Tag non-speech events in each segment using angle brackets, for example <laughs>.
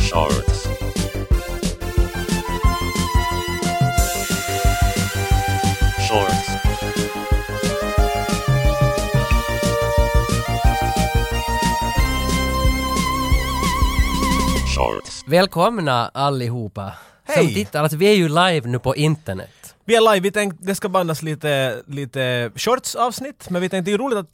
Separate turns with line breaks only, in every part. charts. Shorts. Shorts.
Välkomna allihopa som
Hej!
tittar. Alltså, vi är ju live nu på internet.
Vi är live, vi tänkte, det ska bandas lite, lite shorts-avsnitt, men vi tänkte det är roligt att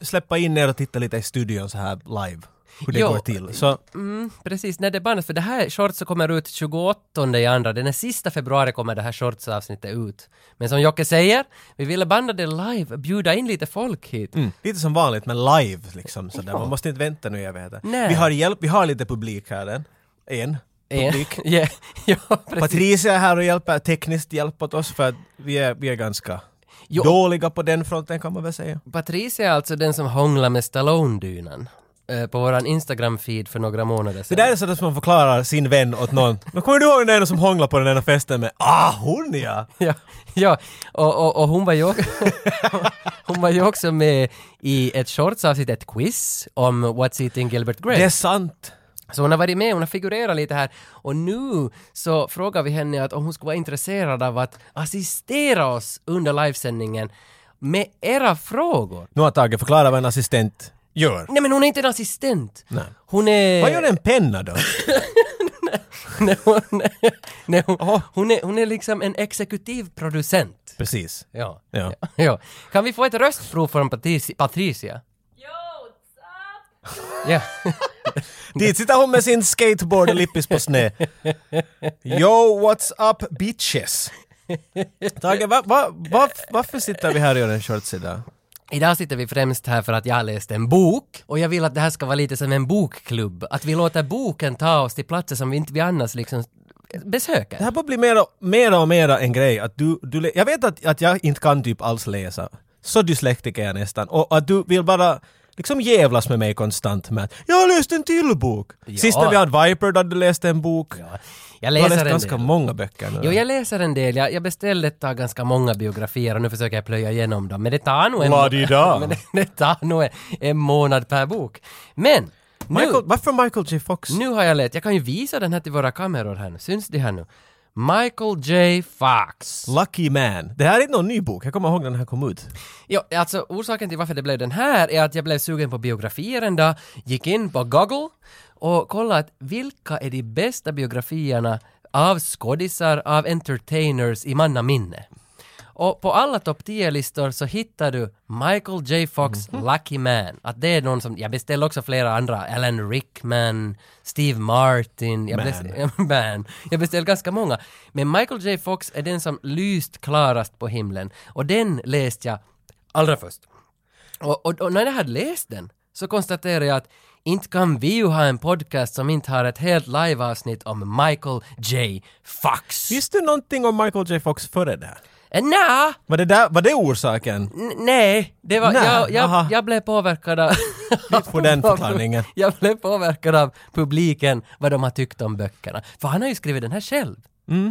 släppa in er och titta lite i studion så här live, hur det
Jo.
går till. Så
Mm, precis, när det bandas. För det här shortset kommer ut 28 i andra. Den här sista februari kommer det här shortsavsnittet ut. Men som Jocke säger, vi ville banda det live, bjuda in lite folk hit.
mm, lite som vanligt, men live liksom sådär. Man måste inte vänta nu i evigheter.
Nej.
Vi har hjälp, vi har lite publik här än. En.
Eh,
Publik.
<laughs> ja, ja, <laughs> precis.
Patricia är här och hjälper, tekniskt hjälp åt oss för att vi är, vi är ganska
Jo.
dåliga på den fronten kan man väl säga.
Patricia är alltså den som hånglar med Stallone-dynan eh, på våran Instagram-feed för några månader
Det
sedan.
där är sådant som man förklarar sin vän åt någon. Men kommer du ihåg den ena som hånglade på den ena festen med ”Ah, hon ja!”
<laughs> Ja, ja. Och, och, och hon var ju också, <laughs> hon var ju också med i ett shortsavsnitt, ett quiz om What's Eating Gilbert Grape.
Det är sant.
Så hon har varit med, hon har figurerat lite här och nu så frågar vi henne att om hon skulle vara intresserad av att assistera oss under livesändningen med era frågor.
Nu har Tage förklarat vad en assistent gör.
Nej men hon är inte en assistent.
Nej.
Hon är...
Vad gör en penna då?
<laughs>
<laughs>
Nej, hon, nej, hon,
Jaha.
hon, är, hon är liksom en exekutiv producent.
Precis.
Ja.
Ja.
<laughs> ja. Kan vi få ett röstprov från Patrici- Patricia? Ja. <laughs>
Dit sitter hon med sin skateboard och lippis på sned. Yo, what's up bitches? Tage, va, va, va, varför sitter vi här och gör en shorts idag?
Idag sitter vi främst här för att jag har läst en bok och jag vill att det här ska vara lite som en bokklubb. Att vi låter boken ta oss till platser som vi inte vi annars liksom
Det
besöker.
här börjar bli mera, mera och mera en grej. Att du, du, lä- jag vet att, att jag inte kan typ alls läsa. Så dyslektiker är jag nästan. Och att du vill bara liksom jävlas med mig konstant med att jag har läst en till bok. Sist när vi hade Viper då hade du läst en bok.
Jag
du
läser
har läst
en
ganska
del.
många böcker nu.
Jo, jag läser en del. Jag, jag beställde ett tag ganska många biografier och nu försöker jag plöja igenom dem. Men det tar nog en, <laughs>
La-di-da.
men det, det tar nog en, en månad per bok. Men nu,
Michael, varför Michael J Fox?
nu har jag lärt, jag kan ju visa den här till våra kameror här nu. Syns det här nu? Michael J. Fox.
Lucky Man. Det här är inte någon ny bok, jag kommer ihåg när den här kom ut.
Ja, alltså orsaken till varför det blev den här är att jag blev sugen på biografier en dag, gick in på Google och kollade att vilka är de bästa biografierna av skådisar, av entertainers i mannaminne. Och på alla topp 10-listor så hittar du Michael J. Fox Lucky Man. Att det är någon som, jag beställde också flera andra, Alan Rickman, Steve Martin, jag, beställ, <laughs> man. jag beställde ganska många. Men Michael J. Fox är den som lyst klarast på himlen. Och den läste jag allra först. Och, och, och när jag hade läst den så konstaterade jag att inte kan vi ju ha en podcast som inte har ett helt liveavsnitt om Michael J. Fox.
Visste du någonting om Michael J Fox före det här?
Eh, Nja,
Var det, där, var det orsaken?
N- Nej, det var,
Nej,
jag, jag,
aha.
jag blev påverkad av...
På <laughs> den förklaringen.
<laughs> jag blev påverkad av publiken, vad de har tyckt om böckerna. För han har ju skrivit den här själv.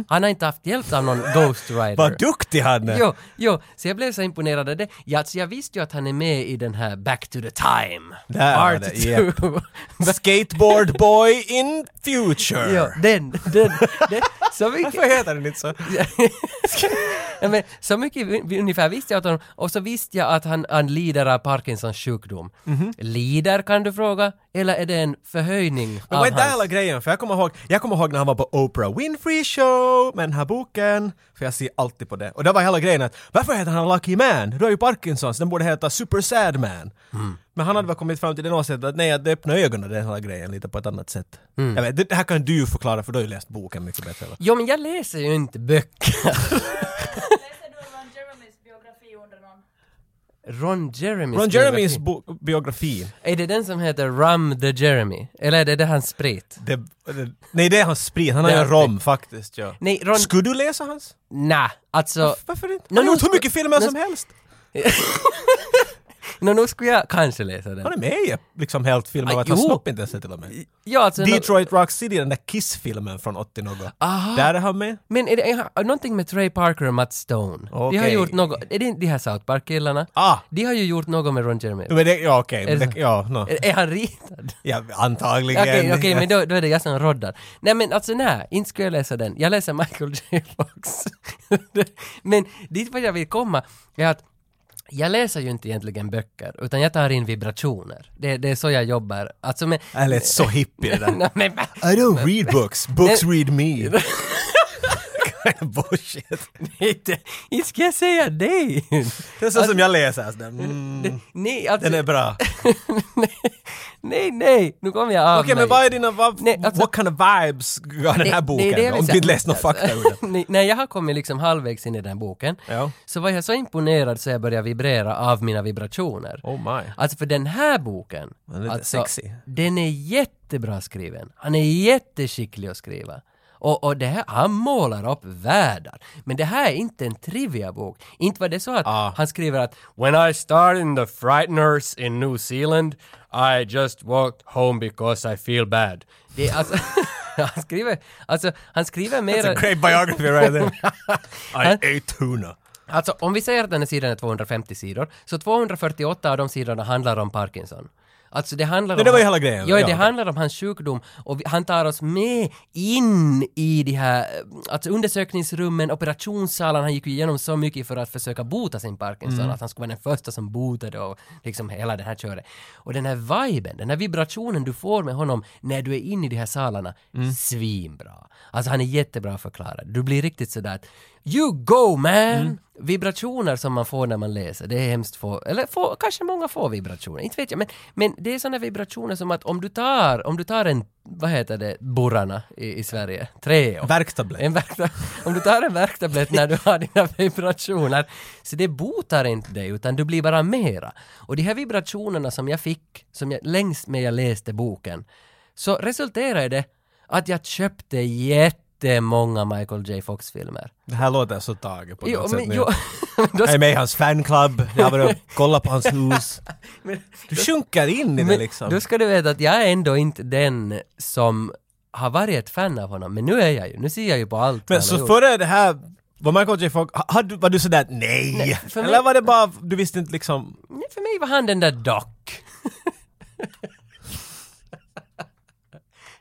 Han har inte haft hjälp av någon <laughs> ghostwriter.
Mm. Vad duktig han
<laughs>
är!
Jo, jo, så jag blev så imponerad av det. Ja, alltså jag visste ju att han är med i den här Back to the Time.
Där var
Part
det,
2.
japp. Skateboard boy in future!
<laughs> Jo, den, den, den. Så mycket,
Varför heter den inte så?
Ja, men, så mycket vi- vi- ungefär visste jag att honom, och så visste jag att han, han lider av Parkinsons sjukdom.
Mhm.
Lider kan du fråga, eller är det en förhöjning av
Men vad är det
hans...
hela grejen? För jag kommer, ihåg, jag kommer ihåg när han var på Oprah Winfrey show med den här boken, för jag ser alltid på det. Och det var hela grejen att varför heter han Lucky Man? Du har ju Parkinsons, den borde heta Super Sad Man.
Mm.
Men han hade väl kommit fram till den åsikten att nej, att öppna ögonen den hela grejen lite på ett annat sätt.
Mm.
Jag vet, det- det här kan du ju förklara för du har ju läst boken mycket bättre. va?
Jo men jag läser ju inte böcker. <laughs>
Läser du Ron Jeremys biografi under någon?
Ron Jeremys
Ron
biografi.
Jeremys bo- biografi,
Är det den som heter Rum the Jeremy? Eller är det det hans sprit?
det, det, nej det är hans sprit, han har ju
Det är
en rom faktiskt. Ja.
Nej, Ron...
Skulle du läsa hans?
Nä, alltså...
Varför inte?
Nå,
Han
nu
har gjort hur
ska-
mycket filmer
nu
som helst!
Nå, nu skulle jag kanske läsa den.
Han är med i liksom helt filmen
Ah,
av att han
jo.
snopp inte ens är till och med.
Ja, alltså, nå-
Detroit Rock City, den där Kiss-filmen från 80 något. Där är han med.
Men är det är någonting med Trey Parker och Matt Stone? De har
Okej.
gjort något, är det inte de här South Park-killarna?
Ah!
De har ju gjort något med Ron Jeremy.
Men det, ja okej,
Är
men
det
det-
så?
ja, no.
Är, är han ritad?
ja antagligen.
Okej, okej, men då, då är det jag som roddar. Nej men alltså nej, inte skulle jag läsa den. Jag läser Michael <laughs> J. Fox. men dit vad jag vill komma är att jag läser ju inte egentligen böcker, utan jag tar in vibrationer. Det, det är så jag jobbar. Alltså men...
<laughs> Jag lät så hippie det där.
<laughs> Nej, men <laughs>
I don't read books, books read me. <laughs> Bullshit.
inte, inte ska jag säga det!
Det är så
Alltså-
som jag läser den. Mm,
Nej, alltså...
den är bra. Okej
<laughs> nej, nej, nu kommer jag av mig.
men vad är dina, vad,
Nej, alltså-
what kind of vibes har
det-
den här
det Alltså. är
boken?
det jag vill
om du
säga.
inte läst någon
<laughs>
fakta ur den.
Nej, när jag har kommit liksom halvvägs in i den boken
Ja.
så var jag så imponerad så jag började vibrera av mina vibrationer.
Oh my.
Alltså för den här boken,
Den är lite
alltså,
sexy.
den är jättebra skriven. Han är jätteskicklig att skriva. Och, och det här, han målar upp världar. Men det här är inte en trivia-bok. Inte var det så att
Ah.
han skriver att When I started in the frighteners in New Zealand I just walked home because I feel bad. Det är alltså, <laughs> han skriver, alltså han skriver mer...
It's a great biography right there. I
Han-
ate tuna.
Alltså om vi säger att den här sidan är 250 sidor, så 248 av de sidorna handlar om Parkinson. Alltså det handlar
Nej,
om...
det var ju hela grejen.
Jo,
Ja,
det
okej.
handlar om hans sjukdom och vi, han tar oss med in i de här eh, alltså undersökningsrummen, operationssalen. Han gick ju igenom så mycket för att försöka bota sin Parkinson,
Mm.
att han skulle vara den första som botade och liksom hela det här köret. Och den här viben, den här vibrationen du får med honom när du är inne i de här salarna,
Mm.
svinbra. Alltså han är jättebra förklarad. Du blir riktigt sådär att “You go man!” Vibrationer som man får när man läser, det är hemskt få, eller få, kanske många får vibrationer, inte vet jag, men, men det är sådana vibrationer som att om du tar, om du tar en, vad heter det, burrarna i, i Sverige, Treo.
Värktablett.
En värkta, om du tar en värktablett när du har dina vibrationer, så det botar inte dig utan du blir bara mera. Och de här vibrationerna som jag fick, som jag, längst med jag läste boken, så resulterade det att jag köpte jättemånga Michael J. Fox-filmer.
Det här låter så taget på något sätt. nu.
<laughs> då
Jag är med i hans fanclub, jag har
<laughs>
varit och kollat på hans hus.
Men-
Du sjunker in i det
Men
liksom.
Då ska du veta att jag är ändå inte den som har varit ett fan av honom, men nu är jag ju, nu ser jag ju på allt
Men
han har
så
gjort.
före det här, var Michael J Fox, ha- hade, var du sådär nej?
för mig-
Eller var det bara, du visste inte liksom,
Nej, för mig var han den där Doc.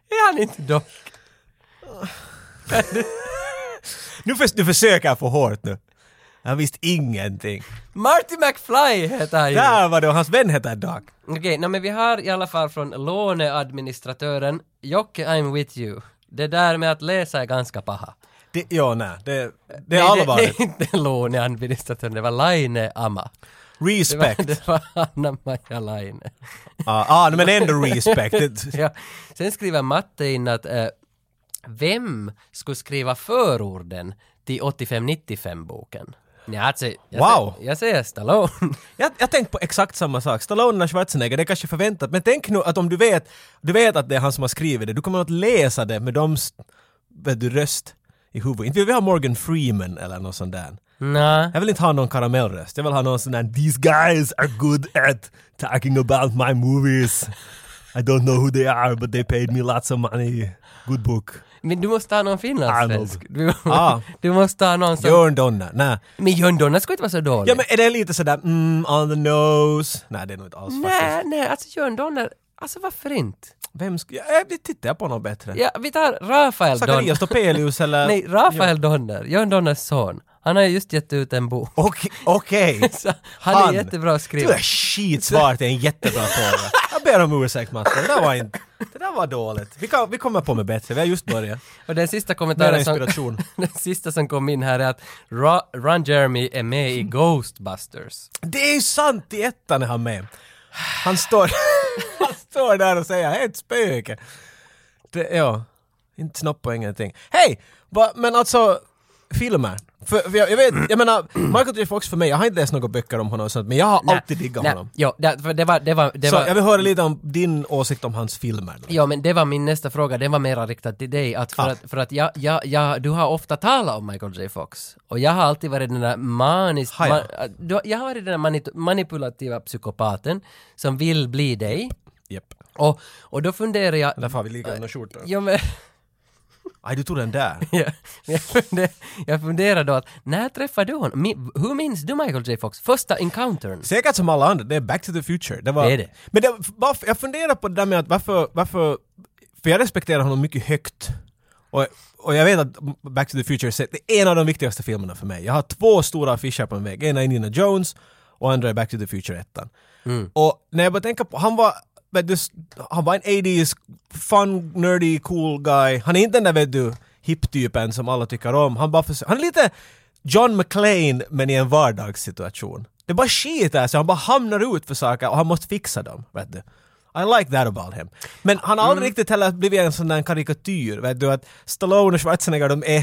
är han inte Doc?
nu förs- du försöker för hårt nu. Han visste ingenting.
Marty McFly heter han ju!
Där var det och hans vän hette Doc.
Okej, nå, men vi har i alla fall från låneadministratören Jocke I'm with you. Det där med att läsa är ganska paha.
Det, ja, nej, det, det
Nej,
är
<laughs>
allvarligt.
Det, det är inte låneadministratören, det var Laine Amma. Det var,
Respect.
det var Anna-Maja Laine.
Ja, ah, men ändå
<laughs>
respect. Det,
Ja. Sen skriver Matte in att eh, vem skulle skriva förorden till 85-95-boken? Nej, alltså, jag,
Wow.
säger, jag säger Stallone.
jag, jag tänkte på exakt samma sak. Stallone och Schwarzenegger, det är kanske förväntat, men tänk nu att om du vet, du vet att det är han som har skrivit det, du kommer att läsa det med doms, vet du, röst i huvudet. Inte vill vi ha Morgan Freeman eller något sånt där.
Nej.
Jag vill inte ha någon karamellröst. Jag vill ha någon sån där “These guys are good at talking about my movies. I don't know who they are but they paid me lots of money. Good book.”
Men du måste ha någon finlandssvensk. Du,
Ah.
<laughs> du måste ha någon som...
Jörn Donner. Nej.
Men Jörn Donner skulle inte vara så dålig.
Ja men är det lite sådär mm, on the nose? Nej det är nog inte alls faktiskt.
nej, nej, alltså Jörn Donner, alltså varför inte?
Vem sk- ja, vi tittar på något bättre.
Ja, vi tar Rafael Donner.
Zacharias Topelius eller...
Nej, Rafael Donner, Jörn Donners son. Han har ju just gett ut en bok. <laughs>
Okej, okej.
Så han, är
Han.
jättebra att
Du
skriva.
är skitsvar till en jättebra fråga. Jag ber om ursäkt Matte, det där var inte... Det där var dåligt. Vi, kan, vi kommer på med bättre, vi har just börjat.
Och den sista
Mera
kommentaren
inspiration.
som, <laughs> den sista som kom in här är att Ra- Ron Jeremy är med i Ghostbusters.
Det är ju sant! I ettan är han med. Han står, <laughs> han står där och säger “Jag är ett spöke”. Det, ja, inte snopp och ingenting. Hej! Va, men alltså, filmer. För, för jag, jag vet, jag menar, Michael J. Fox för mig, jag har inte läst några böcker om honom och sånt, men jag har alltid diggat
nej,
honom.
Jo, det, för det var... Det var, det
Så
var
jag vill höra lite om din åsikt om hans filmer. då.
Ja, men det var min nästa fråga, den var mera riktad till dig. Att för,
Ah.
att, för att jag, jag, jag, du har ofta talat om Michael J. Fox. Och jag har alltid varit den där maniskt...
Har jag?
man- du- jag har varit den där manit- manipulativa psykopaten som vill bli dig.
Japp.
Och, och då funderar jag...
Därför har vi likadana skjortor.
Ja, men,
Aj, du tog den där. <laughs>
<laughs> ja, jag, funderar, jag funderar då att när träffade du honom? Mi, hur minns du Michael J. Fox? Första encountern?
Säkert som alla andra, det är back to the future. Det, var,
Det är det.
Men det, varför, jag funderar på det där med att varför, varför... För jag respekterar honom mycket högt. Och, och jag vet att Back to the Future är det är en av de viktigaste filmerna för mig. Jag har två stora affischer på en vägg. Ena är Indiana Jones och andra är Back to the Future 1.
Mm.
Och när jag börjar tänka på, han var, vet du, han var en 80s fun, nerdy, cool guy. Han är inte den där vet du, hip-typen som alla tycker om. Han, bara försö- han är lite John McClane men i en vardagssituation. Det är bara skit där, så han bara hamnar ut för saker och han måste fixa dem. Vet du. I like that about him. Men han har aldrig
Mm.
riktigt heller blivit en sån där karikatyr, vet du, att Stallone och Schwarzenegger de är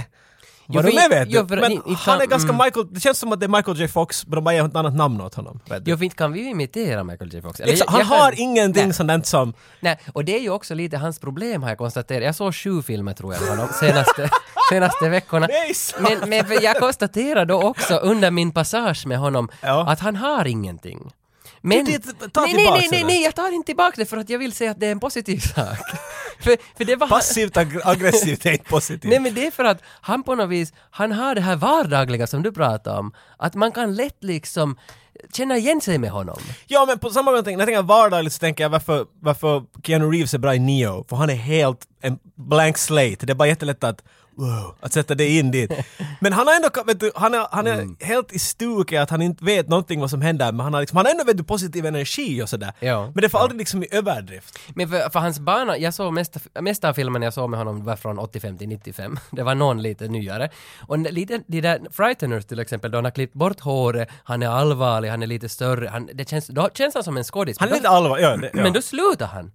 Jo,
vad de
för-
är vet du.
jo, för-
Men
i- i-
han är
mm.
ganska Michael, det känns som att det är Michael J Fox, men de bara ger ett annat namn åt honom. Vet du.
Jo, för inte kan vi imitera Michael J. Fox. Eller
Exakt,
jag-
han
jag kan-
har ingenting
Nej.
sånt som
Nej, och det är ju också lite hans problem har jag konstaterat. Jag såg sju filmer tror jag med honom
<laughs>
senaste, senaste veckorna.
Nej, sant.
men, men för jag konstaterar då också under min passage med honom
Ja.
att han har ingenting. Men,
Du, det- ta
nej, nej,
tillbaks
nej, nej,
det.
nej, jag tar inte tillbaka det för att jag vill säga att det är en positiv sak. <laughs> för, för det var han-
passivt ag- aggressivt är <laughs> inte positivt.
Nej men det är för att han på något vis, han har det här vardagliga som du pratar om. Att man kan lätt liksom känna igen sig med honom.
Ja men på samma gång, tänker- när jag tänker vardagligt så tänker jag varför, varför Keanu Reeves är bra i Neo, för han är helt en blank slate. Det är bara jättelätt att Wow, att sätta det in <laughs> dit. Men han har ändå, vet du, han är, han är helt i stuket att han inte vet någonting vad som händer, men han har, liksom, han har ändå vet du, positiv energi och sådär.
Ja.
Men det får aldrig liksom i överdrift.
Men för, för hans bana, jag såg mesta, mesta av filmen jag såg med honom var från 85 till 95. <laughs> Det var någon lite nyare. Och n- lite, de där Frighteners till exempel, då han har klippt bort håret, han är allvarlig, han är lite större, han, det känns, då känns han som en skådis.
Han är
Men
lite allvarlig. Ja, det,
då,
ja. Mm.
Men då slutar han.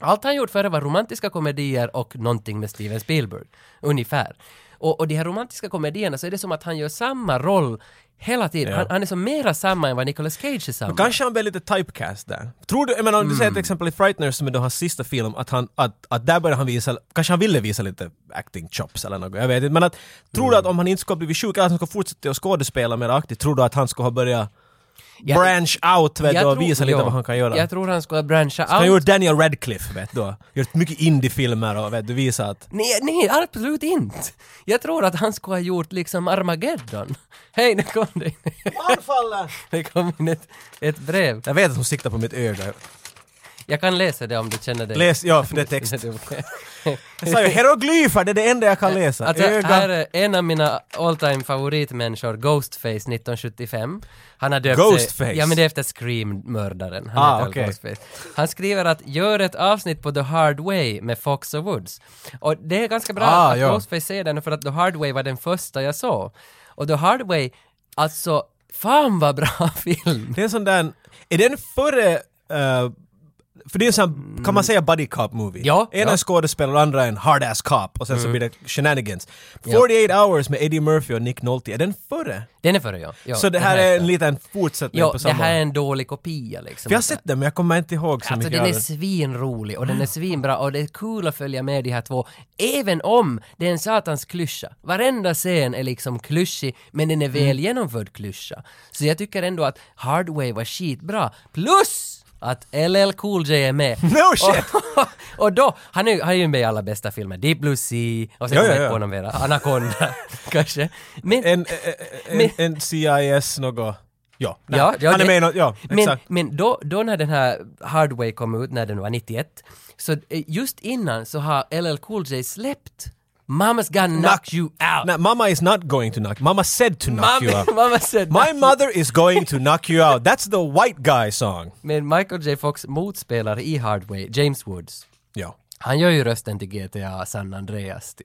Allt han gjort före var romantiska komedier och någonting med Steven Spielberg. Ungefär. Och, och de här romantiska komedierna så är det som att han gör samma roll hela tiden. Han, han är som mera samma än vad Nicolas Cage är samma.
Kanske han blev lite typecast där. Tror du, jag menar om du säger
Mm.
till exempel i Frighteners som är då hans sista film, att han, att, att där började han visa, kanske han ville visa lite acting chops eller något, jag vet inte. Men att, tror
Mm.
du att om han inte skulle ha blivit sjuk, eller att han skulle fortsätta att skådespela mer aktivt, tror du att han skulle ha börjat
Jag-
branch out vet du, och visa lite
jo.
vad han kan göra?
Jag tror han skulle branscha
han
out.
gjorde Daniel Radcliffe vet du, gjort mycket indiefilmer och vet du, visat att
Nej, nej, absolut inte. Jag tror att han skulle ha gjort liksom Armageddon. <laughs> Hej, nu kom det <laughs> in. Det kom in ett, ett brev.
Jag vet att hon siktar på mitt öga.
Jag kan läsa det om du känner <laughs> det.
Läs, ja för det är text. Jag sa ju hieroglyfer, det är det enda jag kan läsa.
Alltså,
öga.
här är en av mina all time favoritmänniskor, Ghostface 1975. Han har döpt
Ghostface?
Sig, ja, men det är efter Scream-mördaren. Han
Ah,
heter väl
okej.
Ghostface. Han skriver att gör ett avsnitt på The Hard Way med Fox och Woods. Och det är ganska bra
Ah,
att
ja.
Ghostface säger den för att The Hard Way var den första jag såg. Och The Hard Way, alltså, fan vad bra <laughs> film!
Det är en sån där, är den före, eh, för det är en sån, kan man säga buddy cop movie?
Mm. Ja,
En
ja. Mm.
är skådespelare och andra är en hard ass cop och sen så blir det shenanigans. 48 hours med Eddie Murphy och Nick Nolte, är den före?
Den är före jag. Ja,
så det
den
här
är
är
före.
en liten fortsättning
Jo,
på
det
samma.
här är en dålig kopia liksom.
För jag har sett den men jag kommer inte ihåg så
Alltså
mycket
den är
av Ah. den.
svinrolig och den är svinbra och det är kul att följa med de här två. Även om det är en satans klyscha. Varenda scen är liksom klyschig men den är
Mm.
väl genomförd klyscha. Så jag tycker ändå att Hardway var skitbra. Plus att LL Cool J är med.
<laughs> No shit!
Och, <laughs> och då, han är, han är ju med i alla bästa filmer. Deep Blue Sea och sen
Ja,
kommer
ja,
jag
ja.
inte på någon mera. Anaconda <laughs> kanske. Men,
En, eh, en, en, en CIS något, ja. nej.
Ja, ja,
han är
det-
med i något, ja
Men,
exakt.
men då, då när den här Hardway kom ut, när den var 91, så eh, just innan så har LL Cool J släppt Mama's gonna knock you out.
Nej, mamma is not going to knock, mamma said to
<laughs>
knock you
Mamma,
out.
mamma said
My mother is going to knock you out, that's the white guy song.
Men Michael J Fox motspelare i Hardway, James Woods,
Ja.
han gör ju rösten till GTA San Andreas.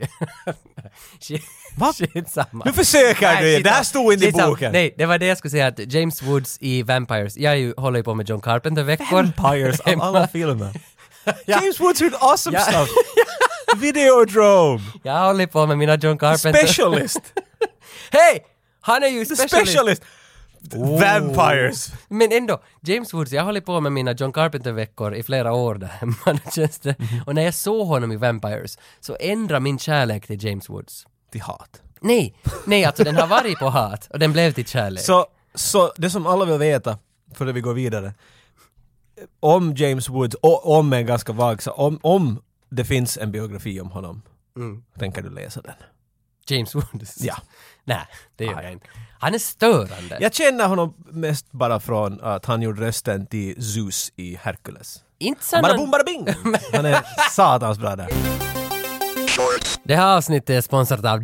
<laughs> Shit-
Va?
Skitsamma.
Nu försöker
Nej,
du ju, det här
skitsamma.
stod inte i
Skitsamma.
boken.
Nej, det var det jag skulle säga att James Woods i Vampires, jag är ju, håller ju på med John Carpenter-veckor.
Vampires av alla filmer. <laughs> James Woods gjorde
<laughs>
awesome
Ja.
stuff! Videodrome!
Jag håller på med mina John Carpenter...
Specialist!
Hej! Han är ju <laughs> specialist!
Specialist! Oh. Vampires!
Men ändå, James Woods, jag har hållit på med mina John Carpenter-veckor i flera år där <laughs> hemma, det känns det.
Mhm.
Och när jag såg honom i Vampires så ändrade min kärlek till James Woods.
Till hat.
Nej, nej alltså den har varit på hat och den blev till kärlek.
Så, så det som alla vill veta, före vi går vidare, om James Woods, och om en ganska vag så om, om det finns en biografi om honom, tänker du läsa den?
James Woods?
Ja.
Nej, det gör jag inte. Han är störande.
Jag känner honom mest bara från att han gjorde rösten till Zeus i Hercules.
Inte sen
Bara
han-
boom, bara bing! Han är satans bra där.
Det här avsnittet är sponsrat av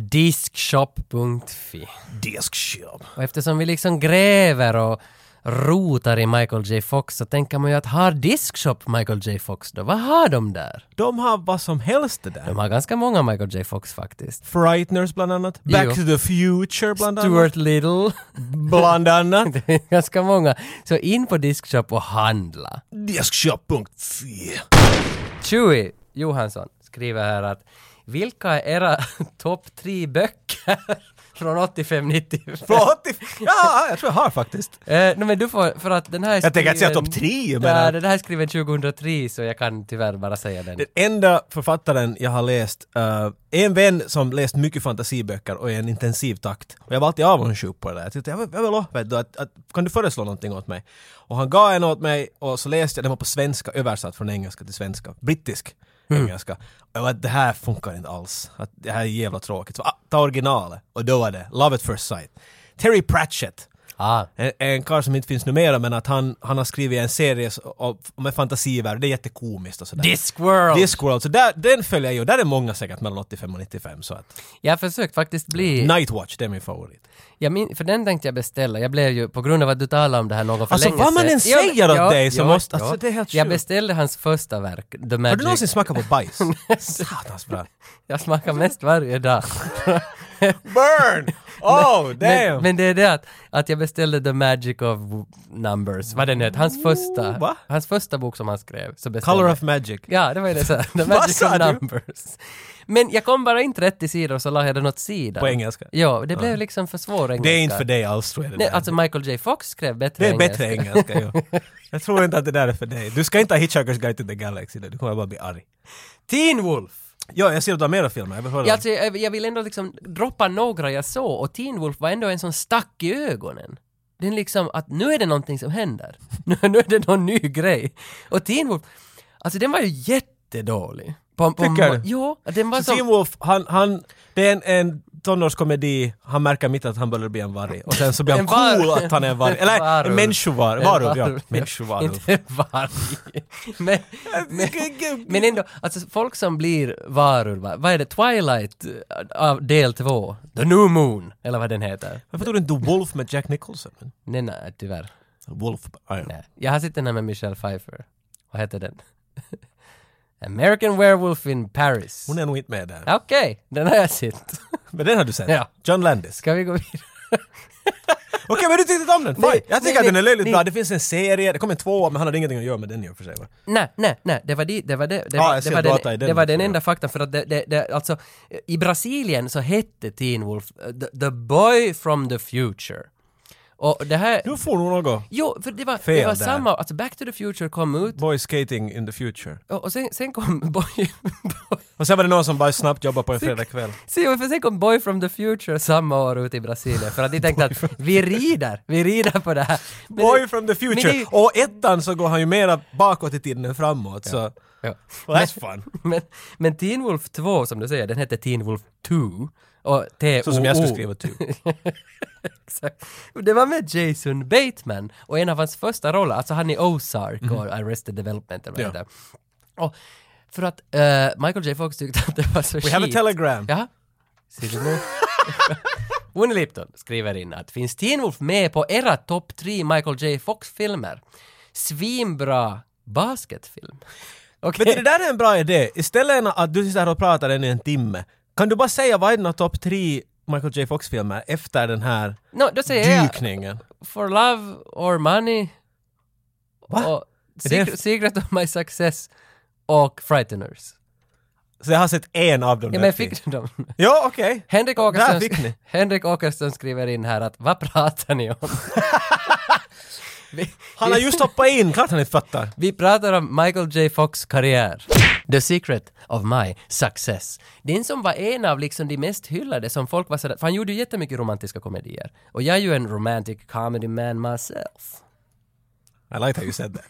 Diskshop.fi.
Diskshop.
Och eftersom vi liksom gräver och rotar i Michael J Fox så tänker man ju att har Diskshop Michael J Fox då? Vad har de där?
De har vad som helst det där.
De har ganska många Michael J Fox faktiskt.
Frighteners bland annat. Back
Jo.
to the Future bland annat.
Stuart Little. <laughs>
Bland annat. <laughs>
Det är ganska många. Så in på Diskshop och handla.
Diskshop.fi.
Chewie Johansson skriver här att vilka är era <laughs> topp tre böcker <laughs> från 85-95?
Från 85? <laughs> Ja, jag tror jag har faktiskt.
<laughs> Eh, nej men du får, för att den här är
Jag tänker inte säga
skriven-
topp tre, men-
Nej, den här är skriven 2003 så jag kan tyvärr bara säga den.
Den enda författaren jag har läst, eh, en vän som läst mycket fantasiböcker och i en intensiv takt. Och jag var alltid avundsjuk på det där. Jag tyckte, jag vill, jag vill ha, vet du, att, att, kan du föreslå någonting åt mig? Och han gav en åt mig och så läste jag, den var på svenska, översatt från engelska till svenska, brittisk engelska. Och jag var, det här funkar inte alls. Att, det här är jävla tråkigt. Så ah, ta originalet. Och då var det Love at first sight. Terry Pratchett.
Ah,
En, en karl som inte finns numera men att han, han har skrivit en serie s- om- om en fantasivärld, det är jättekomiskt och sådär.
Discworld!
Discworld, så där, den följer jag ju. Där är många säkert mellan 85 och 95 så att...
jag försökt faktiskt bli...
Nightwatch, det är min favorit.
Jag min, för den tänkte jag beställa. Jag blev ju, på grund av att du talade om det här någon för
Alltså,
länge
vad man än
Ja, men-
säger åt dig så måste- alltså, det är helt
Jag
sjukt.
beställde hans första verk, The Magic...
Har du någonsin smakat på bajs? Satans bra.
<laughs> Jag smakar mest varje dag.
Burn! Oh, damn!
men, men det är det att, att jag beställde The Magic of Numbers, vad den heter, hans första,
va?
hans första bok som han skrev. Så beställde
Color
jag.
of Magic.
Ja, det var ju det
<laughs>
såhär, The Magic
sa
of
du?
Numbers. Men jag kom bara in 30 sidor så la jag den åt sidan.
På engelska?
Ja, det blev liksom för svår engelska.
Det är inte för dig alls tror jag det
Nej,
där.
alltså Michael J Fox skrev bättre
Det är
engelska.
bättre engelska, ju.
<laughs>
Jag tror inte att det där är för dig. Du ska inte ha Hitchhiker's Guide to the Galaxy, då. du kommer bara bli arg.
Teen Wolf!
Ja, jag ser att du har mera filmer, jag vill höra.
Ja, alltså, jag, jag vill ändå liksom droppa några jag såg och Teen Wolf var ändå en som stack i ögonen. Den liksom att nu är det någonting som händer. <laughs> Nu, nu är det någon ny grej. Och Teen Wolf, alltså den var ju jättedålig. På, på
Tycker du?
Ja, den var
Så Teen
som...
Wolf, han, han, det är en, en tonårskomedi, han märker mitt att han börjar bli en varg. Och sen så blir han
En var-
cool att han är en varg. Eller en
varulv.
människovarulv. Varulv, ja.
varulv.
Människovarulv.
<laughs> Inte varg. Men, men, men ändå, alltså folk som blir varulvar, vad är det, Twilight eh, av del två? The New Moon, eller vad den heter.
Varför tog du inte The Wolf med Jack Nicholson?
Nej, nej, tyvärr.
Wolf, ja, ja.
Nej. Jag har sett den här med Michelle Pfeiffer. Vad heter den? <laughs> American Werewolf in Paris.
Hon är nog inte med där.
Okej, den har jag sett.
Men den har du sett.
Ja.
John Landis.
Ska vi gå vidare? <laughs>
Okej, men du tyckte inte om den? Fine.
Nej,
jag tycker
nej,
att den
nej,
är löjligt
nej.
bra. Det finns en serie, det kom en tvåa, men han hade ingenting att göra med den i och för sig. Va?
Nej, nej, nej, det var det, det var det, det,
Ah,
var,
jag
det,
ser
var,
data i
den,
den
det var
också,
den
ja.
enda faktan för att det, det, det alltså, i Brasilien så hette Teen Wolf eh, the, the Boy from the Future. Och det här,
Nu får nog något.
jo, för det var, det
Fel
var
där.
samma, alltså Back to the Future kom ut
Boy skating in the future.
och, och sen, sen kom <laughs> Boy, boy
Och sen var det någon som bara snabbt jobbade på en fredagkväll.
Se, för sen kom Boy from the Future samma år ut i Brasilien för att de tänkte att vi rider, vi rider på det här. Men
Boy
det-
from the
men
future!
det-
Och ettan så går han ju mera bakåt i tiden än framåt så...
Ja.
Well, that's fun!
Men, men Teen Wolf 2 som du säger, den hette Teen Wolf 2 och t
Så som jag skulle skriva typ.
Exakt. Det var med Jason Bateman och en av hans första roller, alltså han i Ozark och Arrested Development eller vad
Mhm.
det
Ja.
heter. Och för att eh, Michael J Fox tyckte att det var så
We have a
skit.
telegram!
Ja. Ser du nu? <laughs> Bonnie Lipton skriver in att finns Teen Wolf med på era topp tre Michael J Fox-filmer? Svinbra basketfilm. Eh, Okej.
Vet du, det där är en bra idé. Istället för att du sitter här och pratar ännu en timme, kan du bara säga vad är dina topp tre Michael J Fox-filmer efter den här
No, då säger jag
dykningen?
For Love or Money
Va?
och
Är det
Secret, Secret of My Success och Frighteners.
Så jag har sett en av dem.
Ja,
där
men
fick-
fick du
<laughs>
dem?
Ja, okej.
Henrik
Där
Åkesson,
fick ni.
Henrik Åkesson skriver in här att vad pratar ni
<laughs>
om? vi,
Han har just hoppat in, klart han inte fattar.
vi pratar om Michael J. Fox karriär. The secret of my success. Den som var en av liksom de mest hyllade som folk var sådär, för han gjorde ju jättemycket romantiska komedier. Och jag är ju en romantic comedy man myself.
I like how you said
<laughs>
that.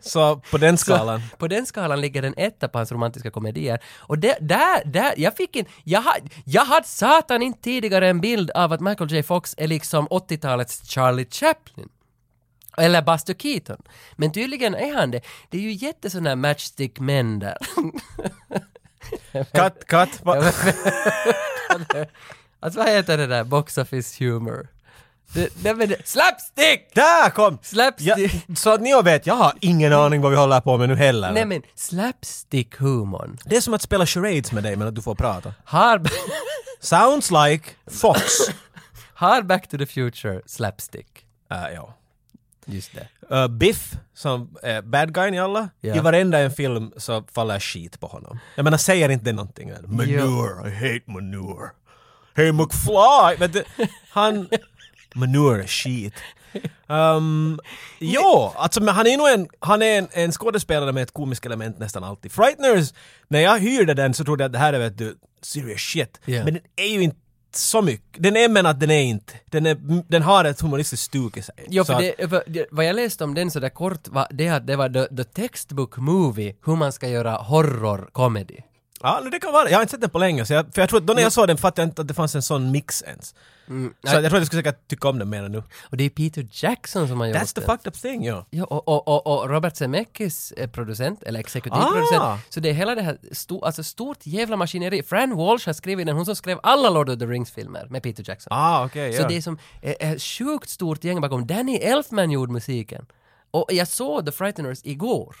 Så på den skalan.
På den skalan ligger den etta på hans romantiska komedier. Och det, där, där, jag fick en, jag, ha- jag hade satan inte tidigare en bild av att Michael J. Fox är liksom 80-talets Charlie Chaplin. Eller Buster Keaton. Men tydligen är han det. Det är ju jätte sån här matchstick män där.
Cut, cut. Va-
alltså vad heter det där? Box office humor. Det, nej men det, slapstick!
Där kom! Ja,
Slapstick!
så att ni vet, jag har ingen aning vad vi håller på med nu heller.
Mm. Nej men slapstick-humorn
Det är som att spela charades med dig men att du får prata.
har,
Sounds like
<coughs>
Fox.
har Back to the Future slapstick.
Äh, ja.
Just det.
Äh, Biff, som är bad guyn i alla,
Ja.
i varenda en film så faller skit på honom. Jag menar, säger inte det någonting? än? Manure, I hate manure. Hey McFly! Men det, han... Manure, skit. Um, jo, alltså men han är nog en, han är en, en skådespelare med ett komiskt element nästan alltid. Frighteners, när jag hyrde den så trodde jag att det här är vet du, serious shit.
Ja.
Men den är ju inte så mycket. Den är men att den är inte. Den, är, den har ett humoristiskt stuk i sig.
Ja,
Så
för
att-
det, för det, vad jag läste om den sådär kort var det att det var the, the textbook movie hur man ska göra horror comedy.
Ja, nu det kan vara det. Jag har inte sett den på länge, så jag, för jag tror att då när
Mm.
jag såg den fattade jag inte att det fanns en sån mix ens. så jag tror att jag skulle säkert tycka om den mer nu.
Och det är Peter Jackson som har gjort
That's the
den.
fucked up thing, ja.
Ja, och, och, och, och Robert Zemeckis är producent, eller exekutiv
Ah!
producent. Så det är hela det här sto, alltså stort jävla maskineri. Fran Walsh har skrivit den, hon som skrev alla Lord of the Rings-filmer med Peter Jackson.
Ah, okej,
Så
ja.
det är som eh, eh, sjukt stort gäng bakom. Danny Elfman gjorde musiken. Och jag såg The Frighteners igår.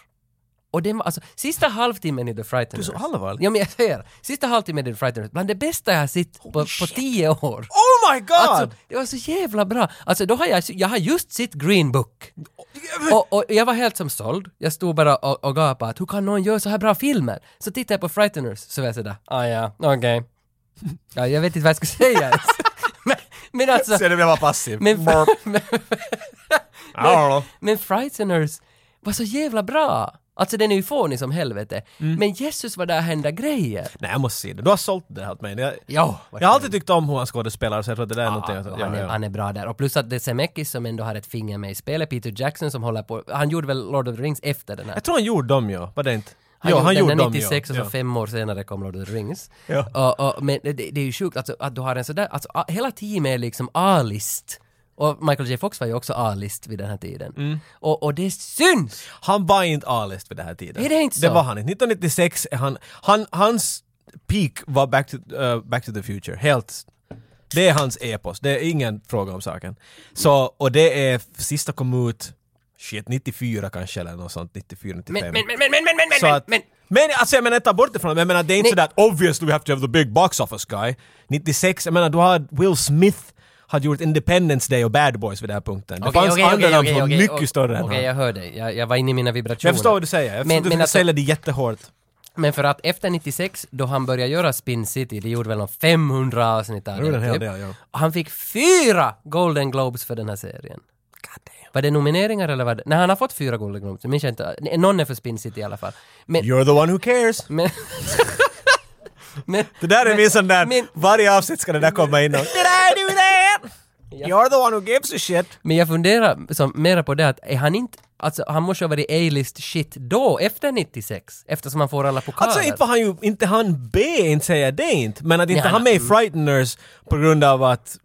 Och den var alltså, sista halvtimmen i The Frighteners.
Du är så allvarlig.
Ja men jag säger, sista halvtimmen i The Frighteners, bland det bästa jag har sett på, på tio år.
Oh my god! <laughs>
Alltså, det var så jävla bra! Alltså då har jag, jag har just sett Green Book. Och, och jag var helt som såld. Jag stod bara och, och gapade att hur kan någon göra så här bra filmer? Så tittade jag på Frighteners så var jag sådär, ah ja, okej. Ja, jag vet inte vad jag ska säga ens. <laughs> men, men alltså...
Ser du, jag var passiv.
Men, <laughs>
<laughs> Brr.
men,
I don't know.
men Frighteners var så jävla bra! Alltså den är ju fånig som helvete.
Mm.
Men Jesus vad där hända grejer!
Nej, jag måste se det. Du har sålt det här åt mig. Jag,
Ja, alltså,
jag har alltid tyckt om hur han skådespelar, så jag tror att det där är någonting. jag-
Ah, han,
Ja,
är,
ja.
han är bra där. Och plus att det är Zemeckis som ändå har ett finger med i spelet, Peter Jackson som håller på, han gjorde väl Lord of the Rings efter den här?
Jag tror han gjorde dem, ja. Var det inte?
Han
ja,
gjorde
han
den
gjorde
där
dem,
96
ja.
och så fem år senare kom Lord of the Rings.
Ja.
Och, och, men det, det är ju sjukt alltså, att du har en sådär, alltså, a, hela teamet är liksom A-list. Och Michael J. Fox var ju också A-list vid den här tiden.
Mm.
Och, och det syns!
Han var inte A-list vid den här tiden.
Är det inte
Det
så?
var han inte. 1996 är han, han hans peak var Back to, eh, back to the Future. Helt. Det är hans epos. Det är ingen fråga om saken. Så, och det är sista kom ut, shit, 94 kanske eller något sånt, 94, 95.
Men, men, men, men, men, men, men,
Så att,
men,
men, alltså jag menar ta bort det från jag menar det är inte
Nej.
sådär att obviously we have to have the big box office guy. 96, jag menar du har Will Smith hade gjort Independence Day och Bad Boys vid den här punkten. Det
Okej,
fanns
okej,
andra
okej,
namn
okej,
som var
okej,
mycket
okej,
större än
Okej,
han.
jag hör dig. Jag, jag var inne i mina vibrationer.
Jag förstår vad du säger. Jag
Men-
men, du
men
men
alltså-
säljer det jättehårt.
Men för att efter 96, då han började göra Spin City, det gjorde väl någon 500 avsnitt av
Det gjorde en hel
typ.
del, ja.
Han fick fyra Golden Globes för den här serien. Var det nomineringar eller vad det... Nej, han har fått fyra Golden Globes, jag minns inte. Nej, Någon är för Spin City i alla fall. Men...
You're the one who cares.
men <laughs> Men,
Det där är
men-
min sån där,
men-
varje avsnitt ska det där komma in och Did I do that? You're the one who gives a shit.
men jag funderar som, mera på det att är han inte, alltså han måste ha varit A-list shit då, efter 96, eftersom han får alla pokaler.
Alltså inte var han ju, inte han B, inte säger det inte. Men att inte
Nej,
han med i Frighteners på grund av att,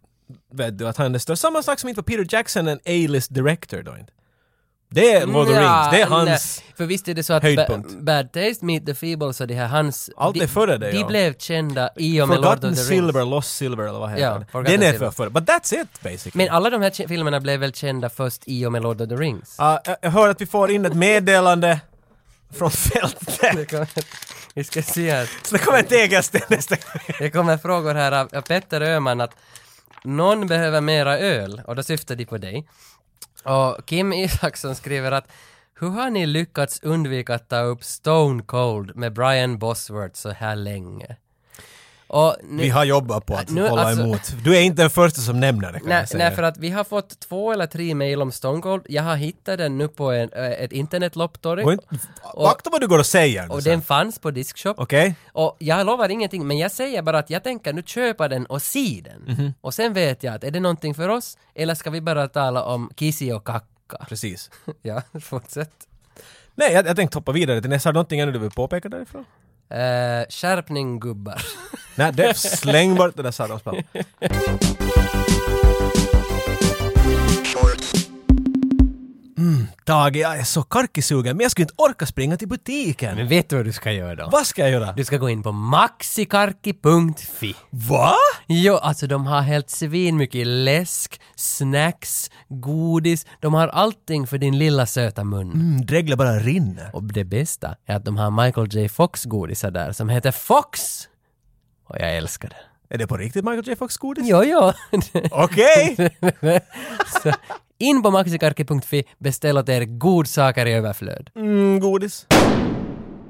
vet du, att han är störst. Samma sak som inte var Peter Jackson en A-list director då inte. Det är Lord of the Rings,
Nja,
det är hans...
nej. Mm, För visst är det så att
höjdpunkt.
ba- Bad Taste, Meet the Feebles och det här hans...
Allt
de-
är före det,
De
ja.
blev kända i och med Lord of the
Forgotten
Rings.
Silver, Lost Silver eller vad heter
Ja,
det?
Forgotten
Den är
Silver.
för före. But that's it basically.
Men alla de här kä- filmerna blev väl kända först i och med Lord of the <laughs> Rings?
Ja, jag- jag hör att vi får in ett meddelande från fältet.
Vi ska se här.
Så det kommer en tegelsten nästa gång.
Det kommer frågor här av av Petter Öhman att någon behöver mera öl och då syftar de på dig. Och Kim Isaksson skriver att Hur har ni lyckats undvika att ta upp Stone Cold med Brian Bosworth så här länge? Och nu,
Vi har jobbat på att
Nu,
hålla
alltså-
emot. Du är inte den första som nämner det kan
Nej,
jag säga.
nej, för att vi har fått två eller tre mejl om Stone Cold. Jag har hittat den nu på en, eh, ett
Gå
internetlopptorg.
inte- Akta vad du går och säger. nu
Och
sen.
den fanns på Diskshop.
Okej?
Och jag lovar ingenting, men jag säger bara att jag tänker nu köpa den och se den. Och sen vet jag att är det någonting för oss, eller ska vi bara tala om kissi och kacka?
Precis.
<laughs> ja, fortsätt.
Nej, jag, jag tänkte hoppa vidare till nästa. Har du någonting ännu du vill påpeka därifrån?
Eh, skärpning gubbar.
Nej, det släng bort det där Sadams pappa. Mm, Tage, jag är så karkisugen men jag skulle inte orka springa till butiken.
<laughs> Men vet du vad du ska göra då?
Vad ska jag göra?
Du ska gå in på maxikarki.fi.
Va?
Jo, alltså de har helt svinmycket läsk, snacks, godis. De har allting för din lilla söta mun.
Mm, Dreglet bara rinner.
Och det bästa är att de har Michael J Fox-godisar där som heter Fox! Och jag älskar det.
Är det på riktigt Michael J Fox godis?
Jo, jo. <laughs>
Okej!
Så in på maxikarki.fi, beställ åt er godsaker i överflöd.
Mm, godis.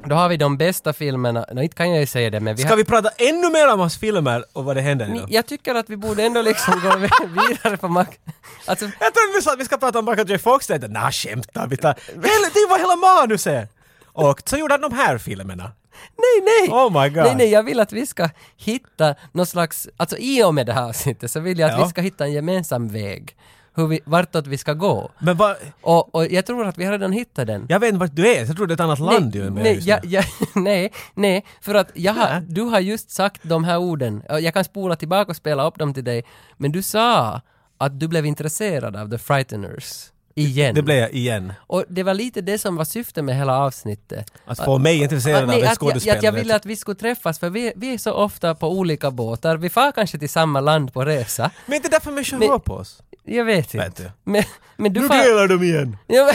Då har vi de bästa filmerna, nej inte kan jag ju säga det men vi
Ska
har...
vi prata ännu mer om hans filmer och vad det händer idag?
Jag tycker att vi borde ändå liksom gå <laughs> vidare på Max... Alltså,
Jag trodde du sa att vi ska prata om Michael J Fox. Jag tänkte, nah skämtar vi? tar- Hela- Det var hela manuset! Och så gjorde han de här filmerna.
Nej, nej!
Oh my God.
Nej, nej, jag vill att vi ska hitta någon slags, alltså i och med det här avsnittet så vill jag att
Ja.
vi ska hitta en gemensam väg. Hur vi, vartåt vi ska gå.
Men vad...
Och, och jag tror att vi har redan hittat den.
Jag vet inte vart du är, jag tror det är ett annat land du är med
nej,
just nu.
jag, jag, <laughs> nej, nej, för att jag har,
Nej.
du har just sagt de här orden. Ja, Jag kan spola tillbaka och spela upp dem till dig. Men du sa att du blev intresserad av The Frighteners. Igen.
Det blev jag igen.
Och det var lite det som var syftet med hela avsnittet.
Att få mig intresserad
Att-
av en
att, jag,
skådespelare.
att jag ville att vi skulle träffas för vi, vi är så ofta på olika båtar. Vi far kanske till samma land på resa.
Men inte därför människor
Men-
hör på oss.
Jag vet inte.
Vet du.
Men, men du
Nu
far...
delar de igen!
<laughs> Ja, men-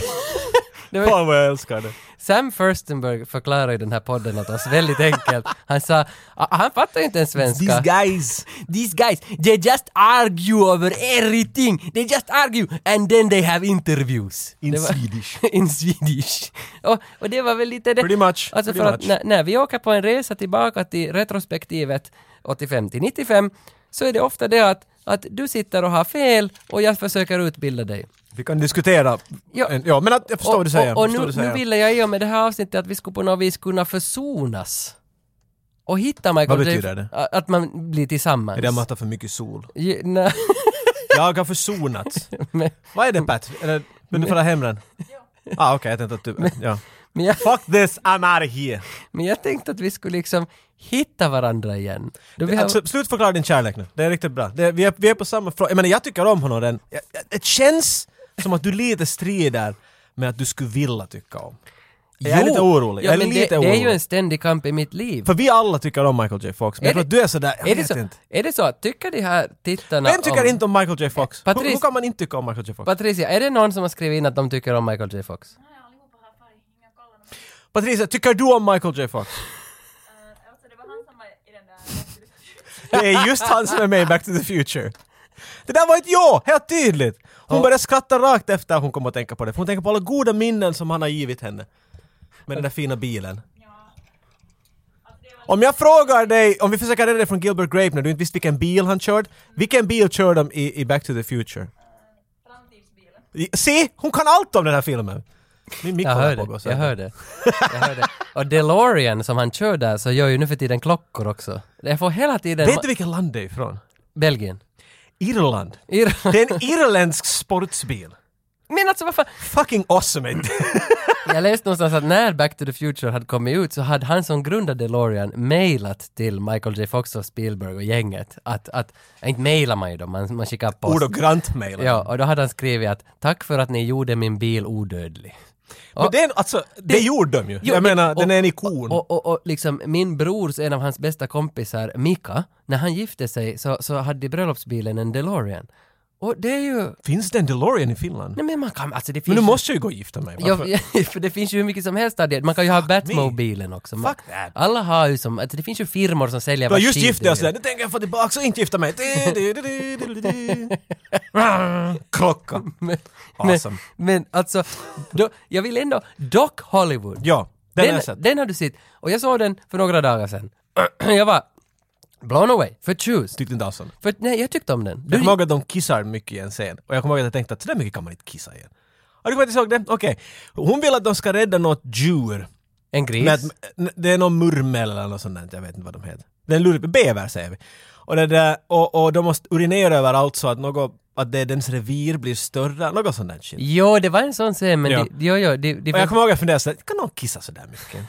det var,
Fan vad jag älskar det.
Sam Furstenberg förklarade i den här podden åt oss väldigt enkelt. Han sa, "Ah, han fattar ju inte ens svenska.
These guys!
<laughs> These guys, they just argue over everything. They just argue and then they have interviews.
In
Det var-
Swedish.
<laughs> In Swedish. Och, och det var väl lite det.
Pretty much.
Alltså
Pretty
för att
much.
när, när vi åker på en resa tillbaka till retrospektivet 85 till 95 så är det ofta det att, att du sitter och har fel och jag försöker utbilda dig.
Vi kan diskutera.
Ja.
En- Ja, men att, jag förstår
och,
vad du säger.
Och, och nu,
förstår vad du säger.
nu ville jag i och med det här avsnittet att vi skulle på något vis kunna försonas. Och hitta Michael
Vad
J.
betyder det?
A- Att man blir tillsammans.
Är det att man tar för mycket sol?
Ju- nej,
Jag har försonats.
<laughs> men,
Vad är det Pat? Är det, vill du föra hem den? Ah, okej, jag tänkte att du... Ja.
<laughs> men, jag,
Fuck this, I'm out of here!
men jag tänkte att vi skulle liksom hitta varandra igen. Då vi har,
Alltså, slutförklara din kärlek nu. Det är riktigt bra. Det, vi, är, vi är på samma fråga. Jag menar, jag tycker om honom. Den. Jag, jag, det känns som att du lite strider med att du skulle vilja tycka om. Jag är
Jo,
lite orolig.
Ja,
Jag är
men
lite
det,
orolig.
det är ju en ständig kamp i mitt liv.
För vi alla tycker om Michael J Fox, men
Är
jag tror
det-
att du är sådär, jag
är, det
vet
så,
inte.
är det så? att Tycker de här tittarna
Vem tycker
om,
inte om Michael J Fox? Hur,
Patrice-
hur kan man inte tycka om Michael J Fox?
Patricia, är det någon som har skrivit in att de tycker om Michael J. Fox?
Nej, allihopa har färg. Inga kollar någon.
Patricia, tycker du om Michael J Fox?
Eh, Alltså det var han som var i den
Det
där...
är just han som är med i Back to the Future. Det där var ett ja, helt tydligt! Hon började skratta rakt efter hon kom att tänka på det, för hon tänker på alla goda minnen som han har givit henne. Med den där fina bilen.
Ja. Alltså det var...
Om jag frågar dig, om vi försöker rädda dig från Gilbert Grape när du inte visste vilken bil han körde, vilken bil körde de i, i Back to the Future?
Framtidsbilen.
I- Se! Hon kan allt om den här filmen! Min mick
Jag
håller
hör
på att gå
det, jag
sönder.
hör det. Jag hör det. Och DeLorean som han kör där så gör ju nu för tiden klockor också. Jag får hela tiden...
Vet du vilket land det är ifrån?
Belgien.
Irland.
Irland.
Det är en irländsk sportsbil.
Men alltså vad fan?
Fucking awesome! inte?
<laughs> Jag läste någonstans att när Back to the Future hade kommit ut så hade han som grundade DeLorean mailat till Michael J. Fox och Spielberg och gänget att, att inte mailar man ju dem, man, man skickar post.
Ord och grant mailen.
Ja, och då hade han skrivit att tack för att ni gjorde min bil odödlig.
Men det, är en- alltså, det gjorde de ju.
Jo,
jag
det-
menar, den
och-
är en ikon.
Och, och, och liksom min brors, en av hans bästa kompisar, Mika, när han gifte sig så, så hade bröllopsbilen en DeLorean. Och det är ju...
Finns det en DeLorean i Finland?
Nej men man kan... Alltså det finns
Men du
ju-
måste ju gå och gifta mig.
Ja, <laughs>
Varför?
för det finns ju hur mycket som helst av det. Man kan ju ha Batmobilen också. Man,
Fuck that.
alla har ju som, alltså det finns ju firmor som säljer
Du har
vars
just
skit
gift dig och
du
sådär,
gör.
nu tänker jag få tillbaka och inte gifta mig. Du, du, du, du, du, du,
<laughs>
du. Klocka.
Men,
Awesome.
men, men alltså, då, jag vill ändå, Doc Hollywood.
Ja, den, har
den,
jag sett.
den har du sett. Och jag såg den för några dagar sedan. <clears throat> jag var blown away, förtjust.
Tyckte inte alls om den.
För, nej, jag tyckte om den.
Jag
Du,
kommer ihåg att de kissar mycket i en scen. Och jag kommer ihåg att jag tänkte att sådär mycket kan man inte kissa igen. Har du kommit ihåg det? Okej. Hon vill att de ska rädda något djur.
en
Men
gris.
att- n- det är någon murmel eller något sånt där, jag vet inte vad de heter. Det är en lurig, bäver säger vi. Och, det där, och, och de måste urinera överallt så att något, att det är dens revir blir större, något sånt där shit.
Jo, det var en sån scen, men
Ja.
ja. det, jo, jo, det, det
Och
var,
jag kommer ihåg att jag funderade sådär, kan någon kissa sådär mycket?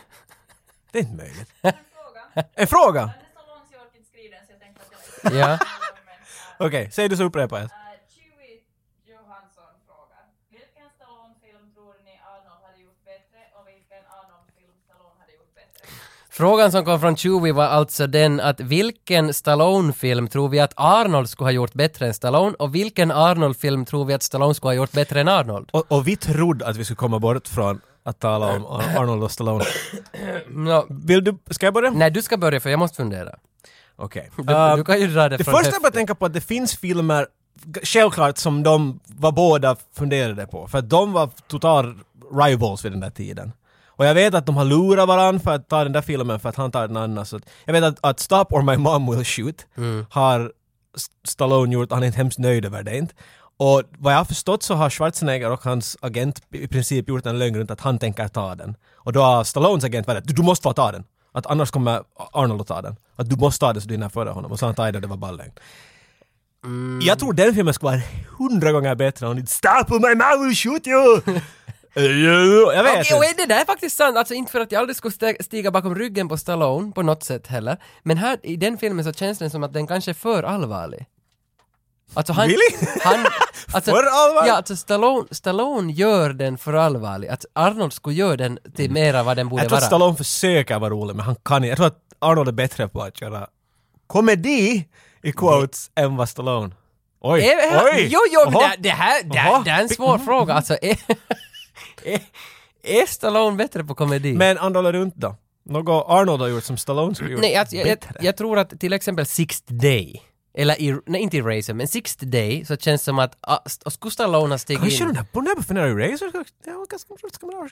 Det är inte möjligt.
En fråga. <laughs>
En fråga!
Den är så lång så jag orkar inte skriva den så jag tänkte att
<laughs>
jag...
Ja.
Men, äh,
Okej, säg det så upprepar jag.
äh, Chewie Johansson frågar. Vilken Stallone-film tror ni Arnold hade gjort bättre och vilken Arnold-film Stallone hade gjort bättre?
Frågan som kom från Chewie var alltså den att vilken Stallone-film tror vi att Arnold skulle ha gjort bättre än Stallone och vilken Arnold-film tror vi att Stallone skulle ha gjort bättre än Arnold?
Och, och vi trodde att vi skulle komma bort från att tala om Ar- Arnold och Stallone.
Nå,
Vill du, ska jag börja?
nej, du ska börja för jag måste fundera.
Okej.
Du,
Ehm,
du kan ju dra det,
Det
från
första jag
höften.
började tänka på att det finns filmer, g- självklart, som de var båda funderade på. För att de var total rivals vid den där tiden. Och jag vet att de har lurat varandra för att ta den där filmen för att han tar den andra. Så att, jag vet att, att Stop or My Mom Will Shoot har S- Stallone gjort, han är inte hemskt nöjd över det inte. Och vad jag har förstått så har Schwarzenegger och hans agent i princip gjort en lögn runt att han tänker ta den. Och då har Stallones agent varit att du, du måste få ta den. Att annars kommer Arnold att ta den. Att du måste ta den så du hinner före honom. Och så har han tagit den, det var bara lögn. Jag tror den filmen skulle vara hundra gånger bättre om inte Stop or my mouth will shoot you!
<laughs>
Eh, jag vet
Okej, och
inte.
är det där är faktiskt sant? Alltså inte för att jag aldrig skulle stä- stiga bakom ryggen på Stallone på något sätt heller. Men här i den filmen så känns den som att den kanske är för allvarlig. Alltså han...
Really? <laughs>
Han, alltså,
För allvarlig?
Ja, alltså Stallone, Stallone gör den för allvarlig. Att Arnold skulle göra den till mera vad den borde
Mm. Jag tror
vara.
att Stallone försöker vara rolig men han kan inte. Jag tror att Arnold är bättre på att göra komedi i quotes än vad Stallone. Oj,
Är det här,
oj!
Eh, Jo, jo, men
Jaha.
det, det här det, här-
Jaha.
det här är en svår fråga. Alltså, är, <laughs> är, är Stallone bättre på komedi?
Men annorlunda runt då? Något Arnold har gjort som Stallone skulle gjort?
Nej, alltså, jag, jag, jag,
bättre.
jag tror att till exempel Sixth Day, eller i, nej, inte i Razor, men Sixth Day så känns det som att ah, st- skulle Stallone ha stigit
Kanske
in.
den här, på den här funderar ju Razor. Ja, ganska- ganska bra.